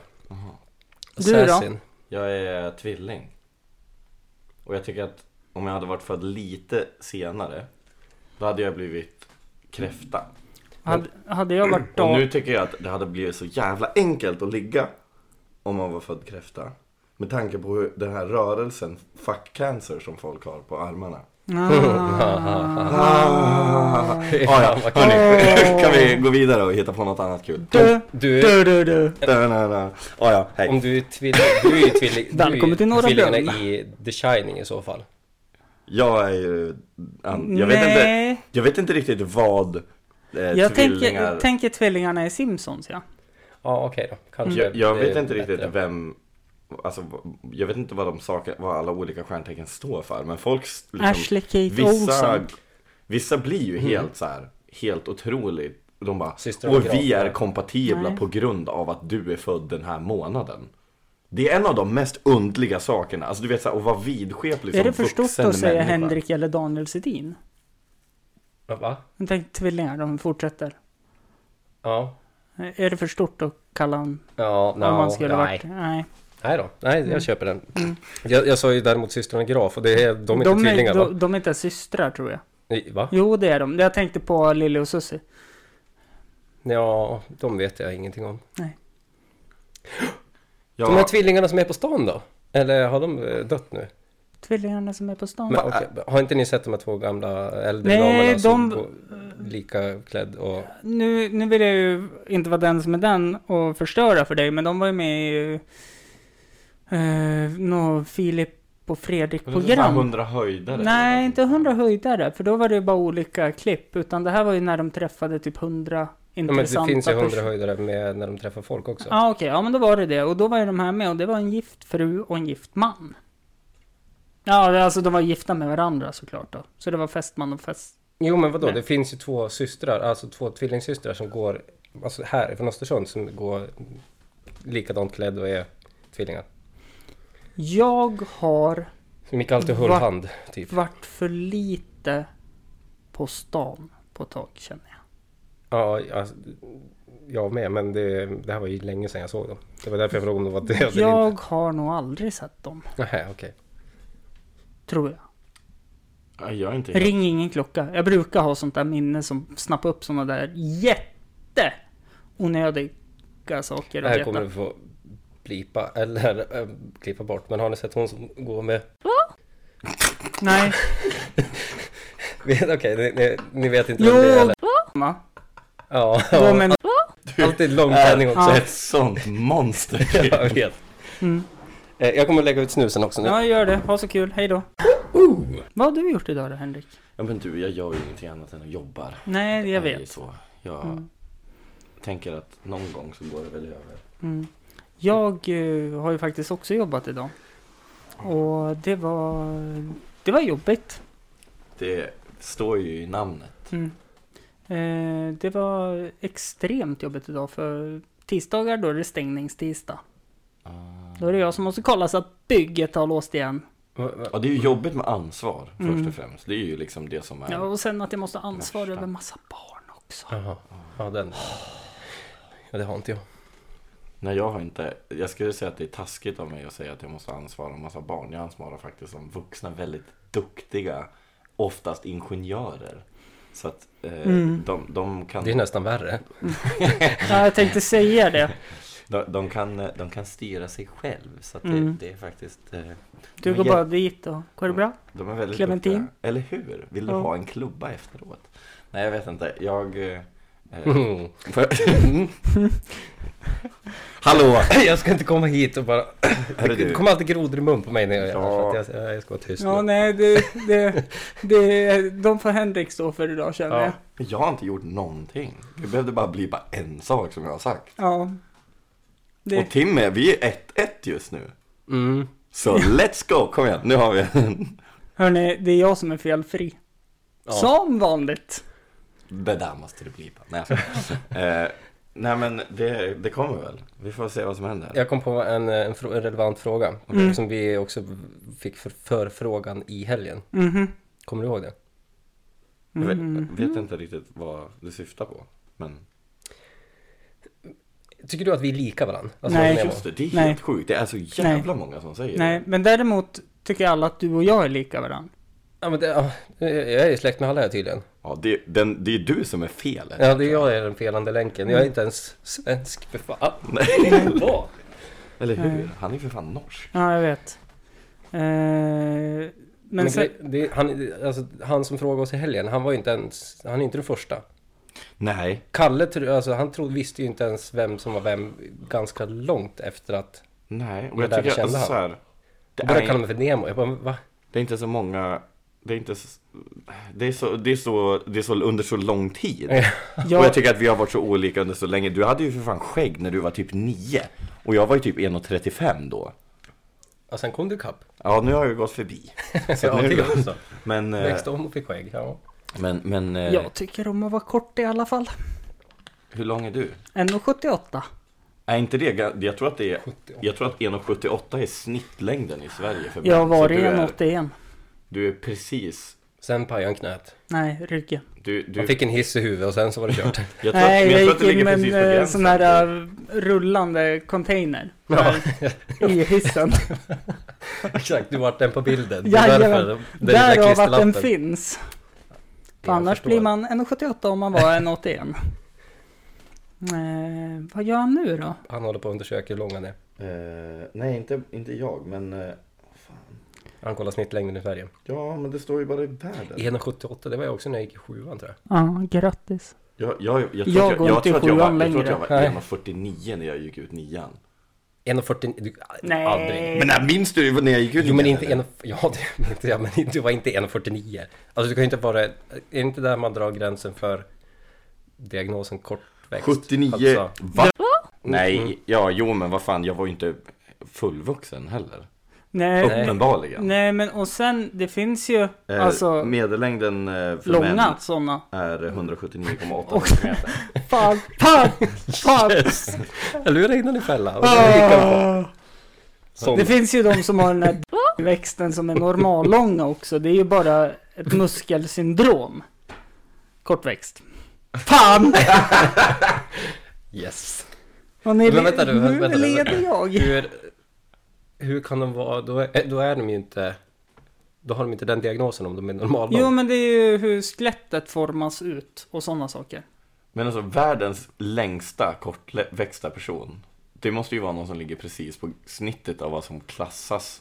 Speaker 3: Du då?
Speaker 2: Assassin.
Speaker 1: Jag är tvilling. Och jag tycker att om jag hade varit född lite senare, då hade jag blivit kräfta.
Speaker 3: Hade, hade jag varit
Speaker 1: Och
Speaker 3: dam...
Speaker 1: nu tycker jag att det hade blivit så jävla enkelt att ligga om man var född kräfta. Med tanke på hur den här rörelsen, fuck cancer, som folk har på armarna.
Speaker 3: Ah.
Speaker 1: Ah,
Speaker 2: Fy
Speaker 1: ah, ja,
Speaker 2: fan, vad
Speaker 1: hörni, kan vi gå vidare och hitta på något annat kul?
Speaker 3: Du,
Speaker 2: Du är...
Speaker 3: du, du, du.
Speaker 1: Da-na-na. Ah, ja, hej.
Speaker 2: Om du är tvilling... Du är ju tvilling... du är ju
Speaker 3: Välkommen till Norra
Speaker 2: tvillingarna
Speaker 3: Brunn.
Speaker 2: i The Shining i så fall.
Speaker 1: Jag är ju... an- Jag vet, inte,
Speaker 3: Nej,
Speaker 1: jag vet inte riktigt vad eh,
Speaker 3: jag tänker,
Speaker 1: tvillingar...
Speaker 3: jag tänker tvillingarna i Simpsons ja.
Speaker 2: Ja, okej då. Kanske.
Speaker 1: Jag, jag
Speaker 2: det är
Speaker 1: vet inte riktigt
Speaker 2: bättre.
Speaker 1: vem... Alltså, jag vet inte vad de saker, vad alla olika stjärntecken står för, men folk... s- liksom,
Speaker 3: Ashley Kate
Speaker 1: vissa,
Speaker 3: Olsen.
Speaker 1: vissa blir ju helt så här, helt otroligt. De bara,
Speaker 2: Systrar och
Speaker 1: och vi
Speaker 2: granar."
Speaker 1: är kompatibla
Speaker 3: Nej.
Speaker 1: på grund av att du är född den här månaden. Det är en av de mest undliga sakerna, alltså du vet såhär, att vara vidskeplig
Speaker 3: Är
Speaker 1: som
Speaker 3: det för stort
Speaker 1: vuxen
Speaker 3: att säga
Speaker 1: människa.
Speaker 3: Henrik eller Daniel Sedin?
Speaker 2: Va?
Speaker 3: Jag tänkte tvillingar, de fortsätter.
Speaker 2: Ja.
Speaker 3: Är det för stort att kalla honom
Speaker 2: Ja, no,
Speaker 3: om man skulle
Speaker 2: nej.
Speaker 3: varit... Mm. Nej.
Speaker 2: Nej då. Nej, jag köper den. Jag, jag sa ju däremot systrarna Graf och det är, de är inte tvillingar
Speaker 3: de,
Speaker 2: va?
Speaker 3: de är inte systrar tror jag.
Speaker 2: Nej, Va?
Speaker 3: Jo, det är de. Jag tänkte på Lille och Susie.
Speaker 2: Ja, de vet jag ingenting om.
Speaker 1: Ja,
Speaker 2: De här tvillingarna som är på stan då? Eller har de eh, dött nu?
Speaker 3: Tvillingarna som är på stan.
Speaker 2: Men, okej, Har inte ni sett de här två gamla äldre
Speaker 3: Nej,
Speaker 2: damerna som
Speaker 3: de-
Speaker 2: går lika klädd och...
Speaker 3: Nu, nu vill jag ju inte vara den som är den och förstöra för dig, men de var ju med i... Uh, Nå, Filip och Fredrik-program.
Speaker 1: Hundra höjdare.
Speaker 3: Nej, inte hundra höjdare, för då var det ju bara olika klipp. Utan det här var ju när de träffade typ hundra
Speaker 2: Ja, men
Speaker 3: intressanta
Speaker 2: det finns ju
Speaker 3: pers-
Speaker 2: hundra höjdare med när de träffar folk också.
Speaker 3: Ja, okej. Ja, men då var det det. Och då var ju de här med och det var en gift fru och en gift man. Ja, det- alltså de var gifta med varandra såklart då. Så det var fästman och fäst...
Speaker 2: Jo men vadå,
Speaker 3: Nej.
Speaker 2: det finns ju två systrar, alltså två tvillingsystrar som går, alltså här från Östersund som går likadant klädd och är tvillingar.
Speaker 3: Jag har
Speaker 2: Som gick alltid hullhand, typ.
Speaker 3: varit för lite på stan på ett tag känner jag.
Speaker 2: Ja, alltså, jag med, men det, det här var ju länge sedan jag såg dem. Det var därför jag frågade om de var döda eller
Speaker 3: Jag
Speaker 2: inte.
Speaker 3: har nog aldrig sett dem,
Speaker 2: Nähä, okej.
Speaker 3: tror jag.
Speaker 1: Ja, Jag är inte helt...
Speaker 3: Ring ingen klocka. Jag brukar ha sånt där minne som snappar upp såna där jätte onödiga saker.
Speaker 2: Det
Speaker 3: att
Speaker 2: här
Speaker 3: veta.
Speaker 2: kommer du få blipa, eller äh, klippa bort. Men har ni sett hon som går med...
Speaker 3: Nej.
Speaker 2: Okej, ni, ni, ni vet inte
Speaker 3: Jo,
Speaker 2: vem det är eller?
Speaker 3: va?
Speaker 2: Ja,
Speaker 3: Gå med
Speaker 2: ja. alltid långklänning också.
Speaker 3: Ja.
Speaker 1: Ett sånt monster.
Speaker 2: jag vet.
Speaker 3: Mm.
Speaker 2: Eh, Jag kommer lägga ut snusen också nu.
Speaker 3: Ja, gör det. Ha så kul. Hej då.
Speaker 2: Ooh.
Speaker 3: Vad har du gjort idag då Henrik?
Speaker 1: Ja men du, jag gör ju ingenting annat än att jobbar.
Speaker 3: Nej, jag
Speaker 1: Det är ju
Speaker 3: vet.
Speaker 1: Så. Jag
Speaker 3: Mm.
Speaker 1: tänker att någon gång så går det väl över.
Speaker 3: Mm. Jag eh, har ju faktiskt också jobbat idag. Och det var, det var jobbigt.
Speaker 1: Det står ju i namnet.
Speaker 3: Mm. Eh, det var extremt jobbigt idag för tisdagar då är det stängningstisdag.
Speaker 1: Ah.
Speaker 3: Då är det jag som måste kolla så att bygget har låst igen.
Speaker 2: Va- va-
Speaker 1: Ja, det är ju jobbigt med ansvar först
Speaker 3: Mm.
Speaker 1: och främst. Det är ju liksom det som är...
Speaker 3: Ja, och sen att jag måste ha ansvar
Speaker 1: Värsta.
Speaker 3: över massa barn också.
Speaker 2: Jaha, ja den. Ja, det har inte jag.
Speaker 1: Nej, jag har inte... Jag skulle säga att det är taskigt av mig att säga att jag måste ansvara en massa barn. Jag ansvarar faktiskt som vuxna, väldigt duktiga, oftast ingenjörer. Så att eh,
Speaker 3: Mm.
Speaker 1: de, de kan...
Speaker 2: Det är nästan värre.
Speaker 3: Ja, jag tänkte säga det.
Speaker 1: De, de, kan, de kan styra sig själv så att
Speaker 3: Mm.
Speaker 1: det, det är faktiskt... eh,
Speaker 3: Du
Speaker 1: Men
Speaker 3: går
Speaker 1: jag-
Speaker 3: bara dit och går det bra?
Speaker 1: De är väldigt
Speaker 3: Clementin?
Speaker 1: duktiga. Eller hur? Vill du
Speaker 3: Ja.
Speaker 1: ha en klubba efteråt? Nej, jag vet inte. Jag... eh, Eh,
Speaker 2: Mm.
Speaker 1: för... Hallå!
Speaker 2: Jag ska inte komma hit och bara...
Speaker 1: Hörru
Speaker 2: Det
Speaker 1: du.
Speaker 2: kommer alltid grodor i mun på mig när jag
Speaker 1: Ja.
Speaker 2: för att jag, jag ska vara tyst
Speaker 3: Ja,
Speaker 2: nu.
Speaker 3: nej, det, det, det, de får Henrik stå för idag känner
Speaker 2: Ja.
Speaker 3: jag.
Speaker 1: Jag har inte gjort någonting. Det behövde bara bli bara en sak som jag har sagt.
Speaker 3: Ja. Det,
Speaker 1: Och Tim är, vi är 1-1 just nu.
Speaker 2: Mm.
Speaker 1: Så let's go! Kom igen, nu har vi en.
Speaker 3: hörni, det är jag som är felfri.
Speaker 2: Ja.
Speaker 3: Som vanligt.
Speaker 1: Det där måste du blipa. Nej, jag skojar. eh, nej men det, det kommer väl. Vi får se vad som händer.
Speaker 2: Jag kom på en, eh, en, frå- en relevant fråga
Speaker 3: Mm.
Speaker 2: som vi också fick för förfrågan i helgen.
Speaker 3: Mhm.
Speaker 2: Kommer du ihåg det?
Speaker 1: Jag vet,
Speaker 3: Mhm.
Speaker 1: vet inte riktigt vad du syftar på. Men
Speaker 2: Tycker du att vi är lika Alltså, varandra?
Speaker 3: Nej.
Speaker 2: håller ni med om?
Speaker 1: just det, det är
Speaker 3: Nej.
Speaker 1: helt sjukt. Det är så jävla många som säger
Speaker 3: Nej, men däremot tycker alla att du och jag är lika varandra.
Speaker 2: Ja, men det, ja, jag är ju släkt med alla här tydligen.
Speaker 1: det. Ja, det, den, det är du som är fel.
Speaker 2: Ja, det är jag är den felande länken. Jag är inte ens svensk för fan.
Speaker 1: Nej. Eller
Speaker 3: Nej.
Speaker 1: hur? Han är för fan norsk.
Speaker 3: Ja, jag vet. Eh, men
Speaker 2: Men
Speaker 3: sen,
Speaker 2: gre- det, han, alltså, han som frågade oss i helgen, han var ju inte ens, han är inte den första.
Speaker 1: Nej.
Speaker 2: Kalle, tro- alltså, han trodde, visste ju inte ens vem som var vem ganska långt efter att...
Speaker 1: Nej. Och
Speaker 2: Det
Speaker 1: jag
Speaker 2: där
Speaker 1: tycker
Speaker 2: kände
Speaker 1: alltså
Speaker 2: han.
Speaker 1: så här. Det
Speaker 2: Jag började
Speaker 1: är-
Speaker 2: kalla mig för Nemo. Jag bara, va?
Speaker 1: Det är inte så många Det är inte så, det är så, det är så, det är så under så lång tid. Och jag
Speaker 3: jag,
Speaker 1: tycker att vi har varit så olika under så länge. Du hade ju för fan skägg när du var typ 9. Och jag var ju typ 1,35 då.
Speaker 2: Ja, sen kom du ikapp.
Speaker 1: Ja, nu har jag ju gått förbi. Så
Speaker 2: Ja,
Speaker 1: nu-
Speaker 2: det är också.
Speaker 1: Men, eh,
Speaker 2: Växte om och fick skägg. Ja.
Speaker 1: men, men eh,
Speaker 3: jag tycker om att vara kort i alla fall.
Speaker 1: hur lång är du?
Speaker 3: 1,78.
Speaker 1: Är inte det, ga- jag tror att det är,
Speaker 2: 78.
Speaker 1: jag tror att 1,78 är snittlängden i Sverige för män.
Speaker 3: Jag har
Speaker 1: Så
Speaker 3: varit
Speaker 1: du är,
Speaker 3: 1,81.
Speaker 1: du är precis,
Speaker 2: Sen pajade han knät.
Speaker 3: Nej, ryggen.
Speaker 1: du, du,
Speaker 2: Han fick en hiss i huvudet och sen så var det kört.
Speaker 1: jag tror,
Speaker 3: Nej,
Speaker 1: att, men
Speaker 3: jag
Speaker 1: jag tror att
Speaker 3: gick
Speaker 1: det
Speaker 3: in
Speaker 1: ligger
Speaker 3: med
Speaker 1: precis på
Speaker 3: en eh,
Speaker 1: gränsen.
Speaker 3: sån här eh, rullande container.
Speaker 2: Ja.
Speaker 3: Där I hissen.
Speaker 2: Exakt, du vart den på bilden. Det är därför
Speaker 3: Jajamän.
Speaker 2: den lilla
Speaker 3: Därav att den
Speaker 2: klisterlappen.
Speaker 3: finns. För
Speaker 2: Jag
Speaker 3: annars
Speaker 2: förstår.
Speaker 3: blir man 1,78 om man var 1,81. Eh, vad gör han nu då?
Speaker 2: Han håller på att undersöka hur lång han är.
Speaker 1: Eh, nej, inte, inte jag, men eh, fan.
Speaker 2: Han kollar snittlängden i Sverige.
Speaker 1: Ja, men det står ju bara i världen.
Speaker 2: 1,78, det var jag också när jag gick i sjuan tror jag.
Speaker 3: Ja, grattis.
Speaker 1: Jag, jag, jag, tror,
Speaker 3: Jag
Speaker 1: att
Speaker 3: går
Speaker 1: jag, jag
Speaker 3: inte i
Speaker 1: tror att jag
Speaker 3: sjuan
Speaker 1: var, jag tror att
Speaker 3: längre.
Speaker 1: jag var
Speaker 2: Nej.
Speaker 1: 1,49 när jag gick ut nian.
Speaker 2: 1,49, du,
Speaker 3: Nej.
Speaker 2: aldrig.
Speaker 1: Men när minns du när jag gick ut
Speaker 2: Jo men inte
Speaker 1: eller?
Speaker 2: en, ja, det, men inte, ja, men du var inte 1,49. Alltså du kan ju inte vara, är det inte där man drar gränsen för diagnosen kortväxt?
Speaker 1: 79.
Speaker 2: Alltså,
Speaker 1: Va? Nej, ja, jo men vad fan, jag var ju inte fullvuxen heller.
Speaker 3: Nej,
Speaker 1: Uppenbarligen.
Speaker 3: nej, men och sen det finns ju
Speaker 1: Eh,
Speaker 3: alltså
Speaker 1: medellängden eh, för män
Speaker 3: långa sådana.
Speaker 1: är 179,8
Speaker 3: Och-
Speaker 1: centimeter.
Speaker 3: Fan, fan, fan.
Speaker 2: jag lurar in den i fällan.
Speaker 3: Ah.
Speaker 2: Sån-
Speaker 3: Det finns ju de som har den här växten som är normallånga också. Det är ju bara ett muskelsyndrom. Kortväxt. Fan!
Speaker 2: Yes.
Speaker 3: Och ni,
Speaker 2: Men vänta nu,
Speaker 3: nu
Speaker 2: vänta nu.
Speaker 3: leder jag.
Speaker 2: Hur, hur kan de vara, då är, då är de ju inte, då har de inte den diagnosen om de är normala.
Speaker 3: Jo men det är ju hur skelettet formas ut och sådana saker.
Speaker 1: Men alltså världens längsta kortväxta person. Det måste ju vara någon som ligger precis på snittet av vad som klassas.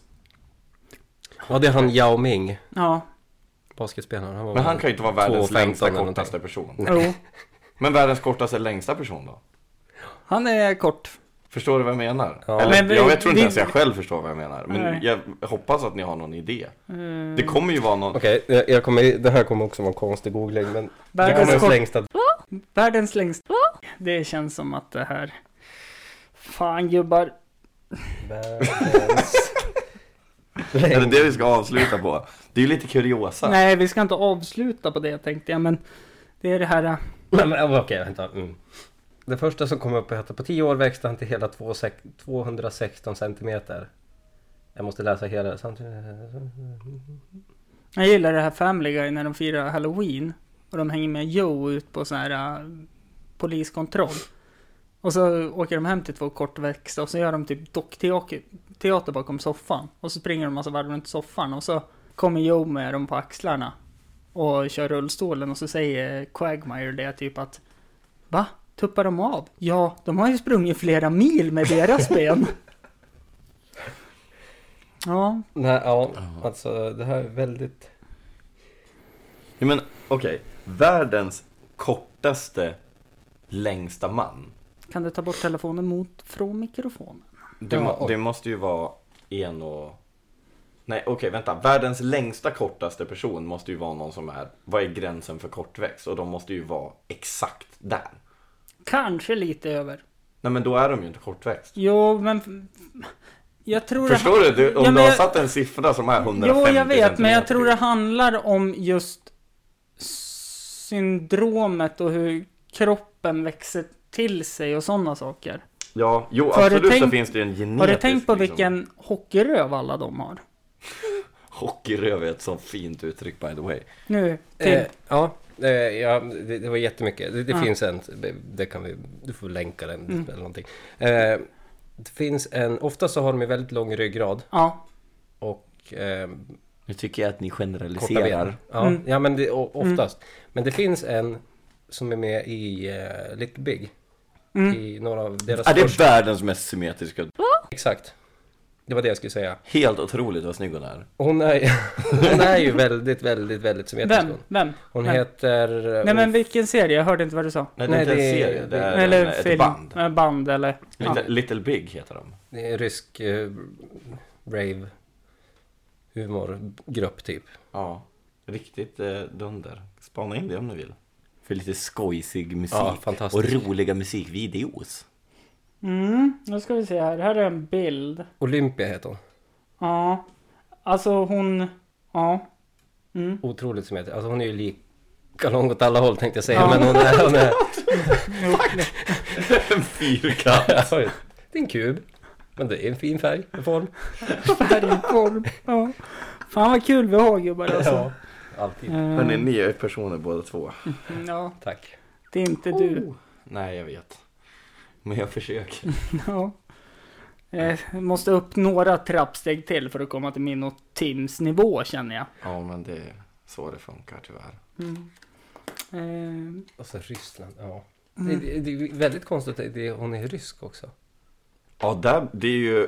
Speaker 2: Ja det är han Yao Ming,
Speaker 3: Ja,
Speaker 2: basketspelaren. Han var
Speaker 1: Men han kan ju inte vara världens
Speaker 2: 2,15
Speaker 1: längsta
Speaker 2: eller någonting.
Speaker 1: kortaste person.
Speaker 3: jo.
Speaker 1: Men världens kortaste längsta person då?
Speaker 3: Han är kort.
Speaker 1: Förstår du vad jag menar?
Speaker 2: Ja.
Speaker 1: Eller,
Speaker 3: Men vi-
Speaker 1: jag, jag tror inte
Speaker 3: vi-
Speaker 1: ens jag själv förstår vad jag menar. Men
Speaker 3: Nej. Mm.
Speaker 1: jag hoppas att ni har någon idé. Det kommer ju vara någon...
Speaker 2: Okej, jag, jag kommer, det här kommer också vara en konstig googling men det
Speaker 3: Världens
Speaker 2: kommer
Speaker 3: kort-
Speaker 2: längsta
Speaker 3: Världens längsta... Det känns som att det här... Fan gubbar.
Speaker 2: Världens
Speaker 1: Är det
Speaker 2: längsta
Speaker 1: det vi ska avsluta på? Det är ju lite kuriosa.
Speaker 3: Nej, vi ska inte avsluta på det tänkte jag, men det är det här... äh,
Speaker 2: Nej, men, okej, vänta. Mm. Det första som kom upp hette på 10 år växte han till hela två sek- 216 centimeter. Jag måste läsa hela samtidigt.
Speaker 3: Jag gillar det här Family Guy när de firar Halloween och de hänger med Joe ut på sån här äh, poliskontroll. Och så åker de hem till två kortväxta och så gör de typ dockteater teater bakom soffan. Och så springer de massa varv runt soffan och så kommer Joe med dem på axlarna och kör rullstolen och så säger Quagmire det typ att Va? Tuppar de av? Ja, de har ju sprungit flera mil med deras ben. Ja,
Speaker 2: Nej, ja, alltså det här är väldigt...
Speaker 1: Ja, men okej. Världens kortaste längsta man.
Speaker 3: Kan du ta bort telefonen mot från mikrofonen?
Speaker 1: Det,
Speaker 2: Ja,
Speaker 1: må,
Speaker 2: och-
Speaker 1: det måste ju vara en och... Nej, okej, vänta. Världens längsta kortaste person måste ju vara någon som är... Vad är gränsen för kortväxt? Och de måste ju vara exakt där.
Speaker 3: Kanske lite över.
Speaker 1: Nej, men då är de ju inte kortväxt.
Speaker 3: Jo, men... f- Jag tror
Speaker 1: Förstår du? du
Speaker 3: Ja,
Speaker 1: om
Speaker 3: men
Speaker 1: du har
Speaker 3: jag-
Speaker 1: satt en siffra som är
Speaker 3: det...
Speaker 1: 150
Speaker 3: Jo, jag vet, men jag
Speaker 1: centimeter.
Speaker 3: tror det handlar om just syndromet och hur kroppen växer till sig och sådana saker.
Speaker 1: Ja, jo,
Speaker 3: Har du
Speaker 1: absolut så
Speaker 3: tänkt-
Speaker 1: finns det ju en genetisk...
Speaker 3: Har du tänkt på
Speaker 1: liksom,
Speaker 3: vilken hockeyröv alla de har?
Speaker 1: Hockeyröv är ett sånt fint uttryck, by the way.
Speaker 3: Nu, till...
Speaker 2: Eh, ja, eh, ja det, det var jättemycket. Det, det
Speaker 3: Ja. Mm.
Speaker 2: finns en, det kan vi, du får länka den eller någonting. Eh, det finns en, ofta så har de ju väldigt lång ryggrad
Speaker 3: Ja.
Speaker 2: och eh,
Speaker 1: Nu tycker jag att ni
Speaker 2: korta ben.
Speaker 1: generaliserar.
Speaker 2: Ja,
Speaker 3: Mm.
Speaker 2: ja men det, o- oftast. Men det finns en som är med i uh, Little Big.
Speaker 3: Mm.
Speaker 2: I några av deras
Speaker 1: Ja, det är
Speaker 2: första.
Speaker 1: världens mest symmetriska.
Speaker 2: Exakt. Det var det jag skulle säga.
Speaker 1: Helt otroligt vad snygg hon är.
Speaker 2: Hon är, hon är ju väldigt, väldigt, väldigt symmetrisk.
Speaker 3: Vem?
Speaker 2: Hon,
Speaker 3: Vem?
Speaker 2: hon
Speaker 3: Vem?
Speaker 2: heter... eh,
Speaker 3: Nej, men
Speaker 2: Ulf-
Speaker 3: vilken serie? Jag hörde inte vad du sa.
Speaker 1: Nej,
Speaker 2: Nej,
Speaker 1: det är inte en
Speaker 2: det är-
Speaker 1: serie, det är
Speaker 3: Eller
Speaker 1: en,
Speaker 3: film.
Speaker 1: Eh, ett band.
Speaker 3: Eh, Band eller... Ja.
Speaker 1: Little, Little Big heter de.
Speaker 2: det är en rysk eh, rave humorgrupp typ.
Speaker 1: Ja, riktigt eh, dunder. Spana in det om ni vill. För lite skojsig musik
Speaker 2: Ja, fantastiskt.
Speaker 1: och roliga musikvideos.
Speaker 3: Mm, nu ska vi se här. Här är en bild.
Speaker 2: Olympia heter hon.
Speaker 3: Ja. Alltså hon... Ja. Mm.
Speaker 2: Otroligt symmetrisk. Alltså hon är ju lika lång åt alla håll tänkte jag säga.
Speaker 3: Ja.
Speaker 2: Men hon är... Hon är
Speaker 1: en fyrkant!
Speaker 2: Ja, det är en kub. Men det är en fin färg och form.
Speaker 3: Färgkorv. Ja. Fan vad kul vi har gubbar alltså.
Speaker 2: Alltid.
Speaker 1: Hörni, ni är personer båda två.
Speaker 3: Mm, ja,
Speaker 2: Tack.
Speaker 3: det är inte du.
Speaker 1: Nej, jag vet. Men jag försöker. Oh.
Speaker 3: Ja. Eh, jag måste upp några trappsteg till för att komma till min och Tims nivå känner jag.
Speaker 1: Ja, men det är så det funkar tyvärr. Mm.
Speaker 3: Eh,
Speaker 2: Och så Ryssland, ja. Det, det, det är väldigt konstigt, att det, hon är rysk också.
Speaker 1: Ja, där, det är ju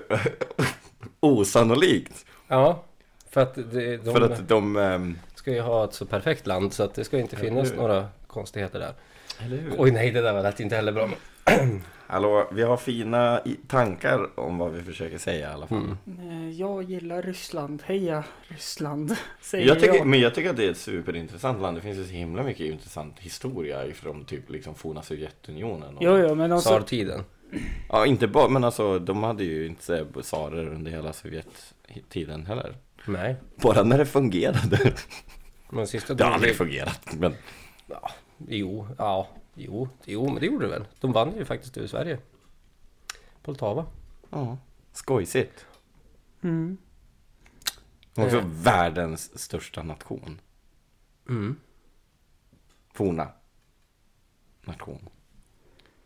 Speaker 1: osannolikt.
Speaker 2: Ja, för att det, de
Speaker 1: För att de... ehm,
Speaker 2: ska ju ha ett så perfekt land så att det ska ju inte finnas
Speaker 1: hur?
Speaker 2: några konstigheter där.
Speaker 1: Eller hur?
Speaker 2: Oj nej, det där lät inte heller bra.
Speaker 1: Hallå, vi har fina i- tankar om vad vi försöker säga i alla fall.
Speaker 3: eh, jag gillar Ryssland. Heja Ryssland. Säger
Speaker 1: Jag
Speaker 3: jag.
Speaker 1: tycker, men jag tycker att det är ett superintressant land. Det finns ju så himla mycket intressant historia ifrån typ liksom forna Sovjetunionen. Och,
Speaker 3: Jo, jo, men
Speaker 2: Alltså,
Speaker 3: också...
Speaker 2: Tsartiden.
Speaker 1: Ja, inte bara, men alltså de hade ju inte tsarer under hela Sovjettiden heller.
Speaker 2: Nej,
Speaker 1: Bara när det fungerade.
Speaker 2: men sista
Speaker 1: Det har aldrig
Speaker 2: delen-
Speaker 1: fungerat, men
Speaker 2: Jo, ja, jo, jo, men det gjorde det väl. De vann ju faktiskt över Sverige. Poltava.
Speaker 1: ja, skojsigt.
Speaker 3: Mm.
Speaker 1: Och också
Speaker 2: Eh.
Speaker 1: världens största nation.
Speaker 2: Mm.
Speaker 1: Forna nation.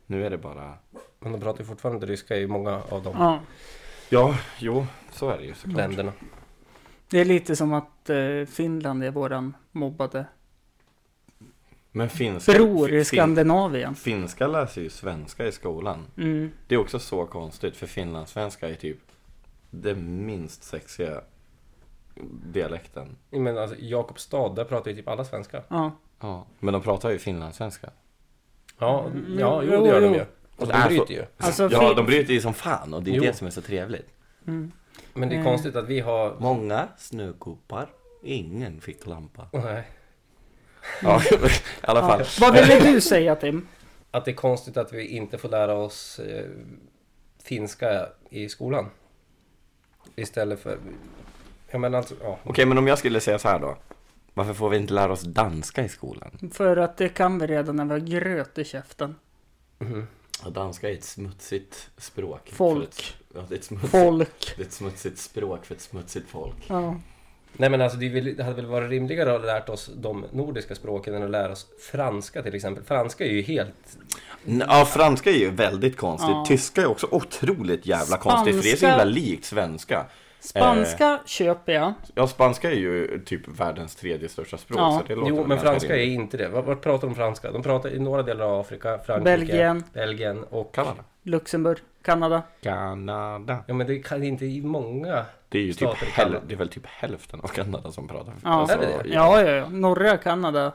Speaker 1: Nu är det bara...
Speaker 2: Men de pratar ju fortfarande ryska i många av de
Speaker 3: Ja.
Speaker 1: Ja, jo, så är det ju såklart.
Speaker 2: länderna.
Speaker 3: Det är lite som att eh, Finland är våran mobbade
Speaker 1: Men finska,
Speaker 3: bror i
Speaker 1: fin-
Speaker 3: Skandinavien.
Speaker 1: finska läser ju svenska i skolan.
Speaker 3: Mm.
Speaker 1: Det är också så konstigt, för finlandssvenska är typ den minst sexiga dialekten.
Speaker 2: Men alltså, Jakobstad, där pratar ju typ alla svenska.
Speaker 3: Ja.
Speaker 1: Ja. Men de pratar ju finlandssvenska.
Speaker 2: Ja, ja jo,
Speaker 3: Mm. jo,
Speaker 2: det gör de
Speaker 3: jo.
Speaker 2: ju. Och
Speaker 1: Och
Speaker 2: de
Speaker 1: är så-
Speaker 2: bryter ju.
Speaker 3: Alltså,
Speaker 1: Ja,
Speaker 3: fi-
Speaker 1: de bryter ju som fan och det är
Speaker 2: Jo.
Speaker 1: det som är så trevligt.
Speaker 3: Mm.
Speaker 2: Men det är
Speaker 3: Eh.
Speaker 2: konstigt att vi har...
Speaker 1: Många snögubbar, ingen fick lampa.
Speaker 2: Nej.
Speaker 1: Ja, i alla fall.
Speaker 3: Ja. Vad ville du säga Tim?
Speaker 2: Att det är konstigt att vi inte får lära oss eh, finska i skolan. Istället för... Jag menar alltså, ja.
Speaker 1: Okej, men om jag skulle säga så här då. Varför får vi inte lära oss danska i skolan?
Speaker 3: För att det kan vi redan när vi har gröt i käften.
Speaker 2: Mhm.
Speaker 1: Ja, danska är ett smutsigt språk.
Speaker 3: Folk.
Speaker 1: För ett- Ja, det är ett smutsigt,
Speaker 3: Folk.
Speaker 1: det är ett smutsigt språk för ett smutsigt folk.
Speaker 3: Ja.
Speaker 2: Nej men alltså det är väl- det hade väl varit rimligare att ha lärt oss de nordiska språken än att lära oss franska till exempel. Franska är ju helt...
Speaker 1: N- Ja, franska är ju väldigt konstigt.
Speaker 3: Ja.
Speaker 1: Tyska är också otroligt jävla
Speaker 3: Spanska-
Speaker 1: konstigt. För det är så himla likt svenska.
Speaker 3: Spanska köper jag.
Speaker 1: Ja, spanska är ju typ världens tredje största språk.
Speaker 3: Ja.
Speaker 1: Så det låter
Speaker 2: Jo
Speaker 1: väl
Speaker 2: men
Speaker 1: ganska
Speaker 2: franska är
Speaker 1: rimligt.
Speaker 2: inte det. Vart vart pratar de franska? De pratar i några delar av Afrika, Frankrike,
Speaker 3: Belgien,
Speaker 2: Belgien och...
Speaker 1: Kanada.
Speaker 3: Luxemburg, Kanada.
Speaker 1: Kanada.
Speaker 2: Ja men det kan inte i många...
Speaker 1: Det är ju typ,
Speaker 2: Stater i
Speaker 1: häl-
Speaker 2: Kanada.
Speaker 1: det är väl typ hälften av Kanada som pratar
Speaker 3: Ja.
Speaker 1: alltså,
Speaker 2: Är det det?
Speaker 1: i-
Speaker 3: Ja, ja, ja. Norra Kanada.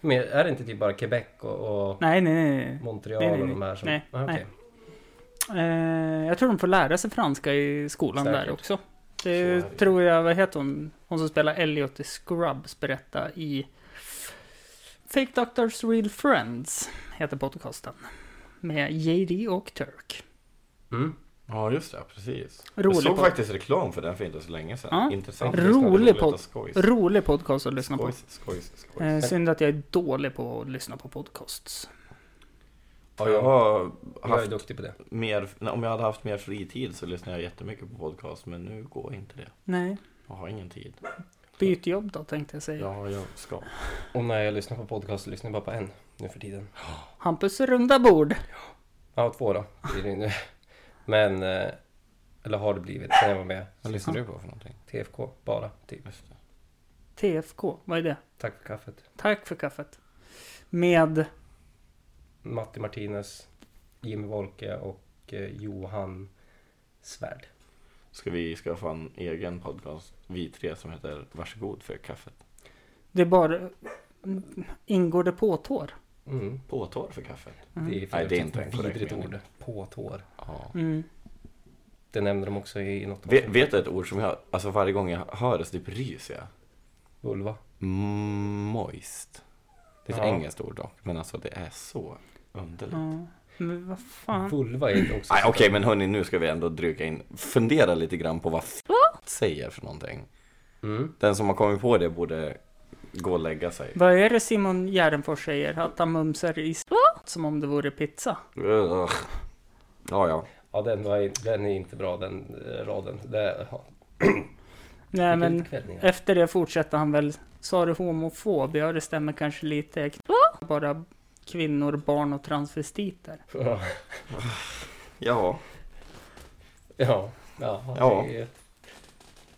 Speaker 2: Men är det inte typ bara Quebec och, och
Speaker 3: Nej, nej, nej.
Speaker 2: Montreal
Speaker 3: Nej, nej,
Speaker 2: och
Speaker 3: nej.
Speaker 2: de här som...
Speaker 3: Nej,
Speaker 2: Ah, okej.
Speaker 3: nej. Eh, jag tror de får lära sig franska i skolan
Speaker 2: Säkert.
Speaker 3: där också.
Speaker 1: Så är
Speaker 3: Det
Speaker 1: det.
Speaker 3: tror jag, vad heter hon? Hon som spelar Elliot i Scrubs berättar i Fake Doctors Real Friends heter podcasten. Med JD och Turk.
Speaker 2: Mm.
Speaker 1: Ja, just det, precis. jag
Speaker 3: Rolig
Speaker 1: såg
Speaker 3: podd.
Speaker 1: faktiskt reklam för den för inte så länge sedan.
Speaker 3: Ja.
Speaker 1: Intressant.
Speaker 2: Rolig
Speaker 1: Lyssnade, roligt
Speaker 3: podd.
Speaker 1: och Skojs.
Speaker 3: Rolig podcast att lyssna på.
Speaker 1: Skojs, skojs, skojs.
Speaker 3: Eh, synd att jag är dålig på att lyssna på podcasts.
Speaker 1: Ja, jag har
Speaker 2: Jag är
Speaker 1: haft
Speaker 2: duktig på det.
Speaker 1: mer, nej, om jag hade haft mer fritid så lyssnade jag jättemycket på podcast, men nu går inte det.
Speaker 3: Nej,
Speaker 1: Jag har ingen tid.
Speaker 3: byt jobb då tänkte jag säga.
Speaker 1: Jag har jobbskap.
Speaker 2: Och när jag lyssnar på podcast så lyssnar jag bara på en nu för tiden.
Speaker 3: Hampus runda bord.
Speaker 2: Ja, två då. blir det nu. Men... eh, Eller har det blivit sen jag var med.
Speaker 1: Vad lyssnar du på för någonting?
Speaker 2: TFK, bara. Typ.
Speaker 1: Just det.
Speaker 3: TFK, vad är det?
Speaker 2: Tack för kaffet.
Speaker 3: Tack för kaffet. Med
Speaker 2: Matti Martinez, Jimmy Wolke och eh, Johan Svärd.
Speaker 1: Ska vi skaffa en egen podcast, vi tre, som heter Varsågod för kaffet.
Speaker 3: Det är bara... Ingår det påtår?
Speaker 2: Mm.
Speaker 1: Påtår för kaffet.
Speaker 2: Det är,
Speaker 1: Nej, det är inte
Speaker 2: ett
Speaker 1: en korrekt
Speaker 2: vidrigt
Speaker 1: mening.
Speaker 2: ord. Påtår.
Speaker 1: Ja.
Speaker 3: Mm.
Speaker 2: Det nämnde de också i något
Speaker 1: Vet, vet du ett ord som jag, alltså varje gång jag hör det så typ ryser jag?
Speaker 2: Vulva.
Speaker 1: Mm, moist. Det är ett
Speaker 2: Ja.
Speaker 1: engelskt ord dock, men alltså det är så underligt.
Speaker 3: Ja. Men vad fan?
Speaker 2: Vulva är också...
Speaker 1: Nej, Okej, men hörni, nu ska vi ändå dryga in. Fundera lite grann på vad f- säger för någonting.
Speaker 2: Mm.
Speaker 1: Den som har kommit på det borde gå och lägga sig.
Speaker 3: Vad är det Simon Gärdenfors säger? Att han mumsar i s- som om det vore pizza.
Speaker 1: Ugh. Ja, ja.
Speaker 2: Ja, den, var, den är inte bra den eh, raden. Det, ja.
Speaker 3: Nej
Speaker 2: Vilka
Speaker 3: men
Speaker 2: utkvällningar.
Speaker 3: efter det fortsätter han väl Sa du homofob? Ja det stämmer kanske lite. Bara kvinnor, barn och transvestiter.
Speaker 2: Ja.
Speaker 1: Ja.
Speaker 2: Ja. Ja.
Speaker 1: Ja.
Speaker 2: det är ett-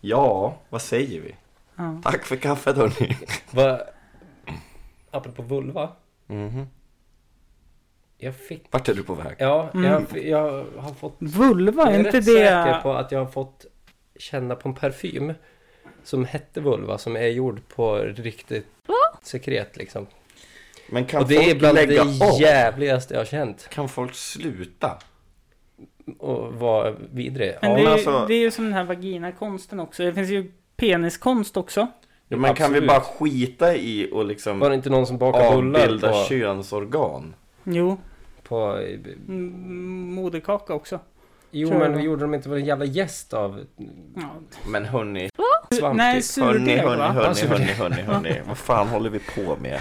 Speaker 1: Ja, vad säger vi?
Speaker 3: Ja.
Speaker 1: Tack för kaffet hörni.
Speaker 2: Vad... Apropå vulva.
Speaker 1: Mhm.
Speaker 2: Jag fick...
Speaker 1: Vart är du på väg?
Speaker 2: Ja,
Speaker 3: Mm.
Speaker 2: jag, jag har fått
Speaker 3: Vulva,
Speaker 2: Jag
Speaker 3: är
Speaker 2: är
Speaker 3: inte
Speaker 2: rätt säker
Speaker 3: det...
Speaker 2: på att jag har fått känna på en parfym som hette vulva, som är gjord på riktigt sekret liksom.
Speaker 1: Men kan
Speaker 2: Och det är
Speaker 1: folk
Speaker 2: bland
Speaker 1: lägga
Speaker 2: det
Speaker 1: av?
Speaker 2: jävligaste jag har känt.
Speaker 1: Kan folk sluta?
Speaker 2: Och vara vidrig.
Speaker 3: Men
Speaker 1: Ja,
Speaker 3: det,
Speaker 1: men
Speaker 3: är,
Speaker 1: alltså-
Speaker 3: det är ju som den här vaginakonsten också. Det finns ju peniskonst också.
Speaker 1: Ja, men kan vi
Speaker 2: Absolut.
Speaker 1: bara skita i och liksom
Speaker 2: Var det inte någon som bakade bullar
Speaker 1: avbilda
Speaker 2: på,
Speaker 1: könsorgan?
Speaker 3: Jo,
Speaker 2: på...
Speaker 3: mm, moderkaka också.
Speaker 2: Jo,
Speaker 3: Tror jag
Speaker 2: men
Speaker 3: det var.
Speaker 2: gjorde de inte väl en jävla gäst av
Speaker 3: Ja.
Speaker 1: Men hörni,
Speaker 2: svamp?
Speaker 3: Nej,
Speaker 2: typ?
Speaker 1: hörni,
Speaker 3: surdeg
Speaker 1: hörni,
Speaker 3: va?
Speaker 1: hörni, hörni, hörni, hörni. Vad fan håller vi på med?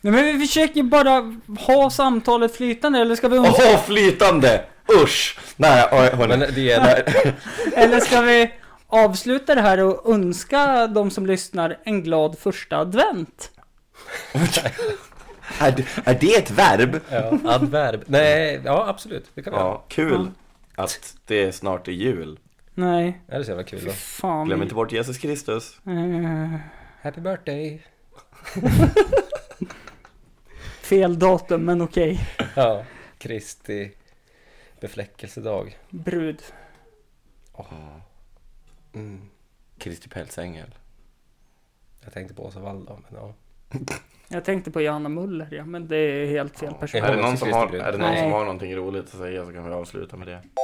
Speaker 3: Nej men vi försöker bara ha samtalet flytande eller ska vi,
Speaker 1: Åh, flytande! Usch! Nej, oj, hörni.
Speaker 2: Men det är...
Speaker 3: eller ska vi avsluta det här och önska de som lyssnar en glad första advent?
Speaker 1: Är, det- är det ett verb?
Speaker 2: Ja, adverb. Nej, ja absolut. Det kan vi göra.
Speaker 1: Ja, kul att det snart är jul.
Speaker 3: Nej,
Speaker 2: Det är så jävla kul
Speaker 3: fy
Speaker 2: då.
Speaker 3: fan.
Speaker 1: Glöm inte bort Jesus Kristus.
Speaker 3: Eh,
Speaker 2: Happy birthday!
Speaker 3: fel datum men okej.
Speaker 2: Ja, Kristi befläckelsedag.
Speaker 3: Brud.
Speaker 2: Mm.
Speaker 1: Kristi pälsängel.
Speaker 2: Jag tänkte på Åsa Wall då, men ja.
Speaker 3: Jag tänkte på Johanna Muller, ja, men det är helt fel person.
Speaker 1: Är det någon, som har,
Speaker 2: Kristerbring.
Speaker 1: är det någon
Speaker 3: Nej.
Speaker 1: som har någonting roligt att säga så kan vi avsluta med det.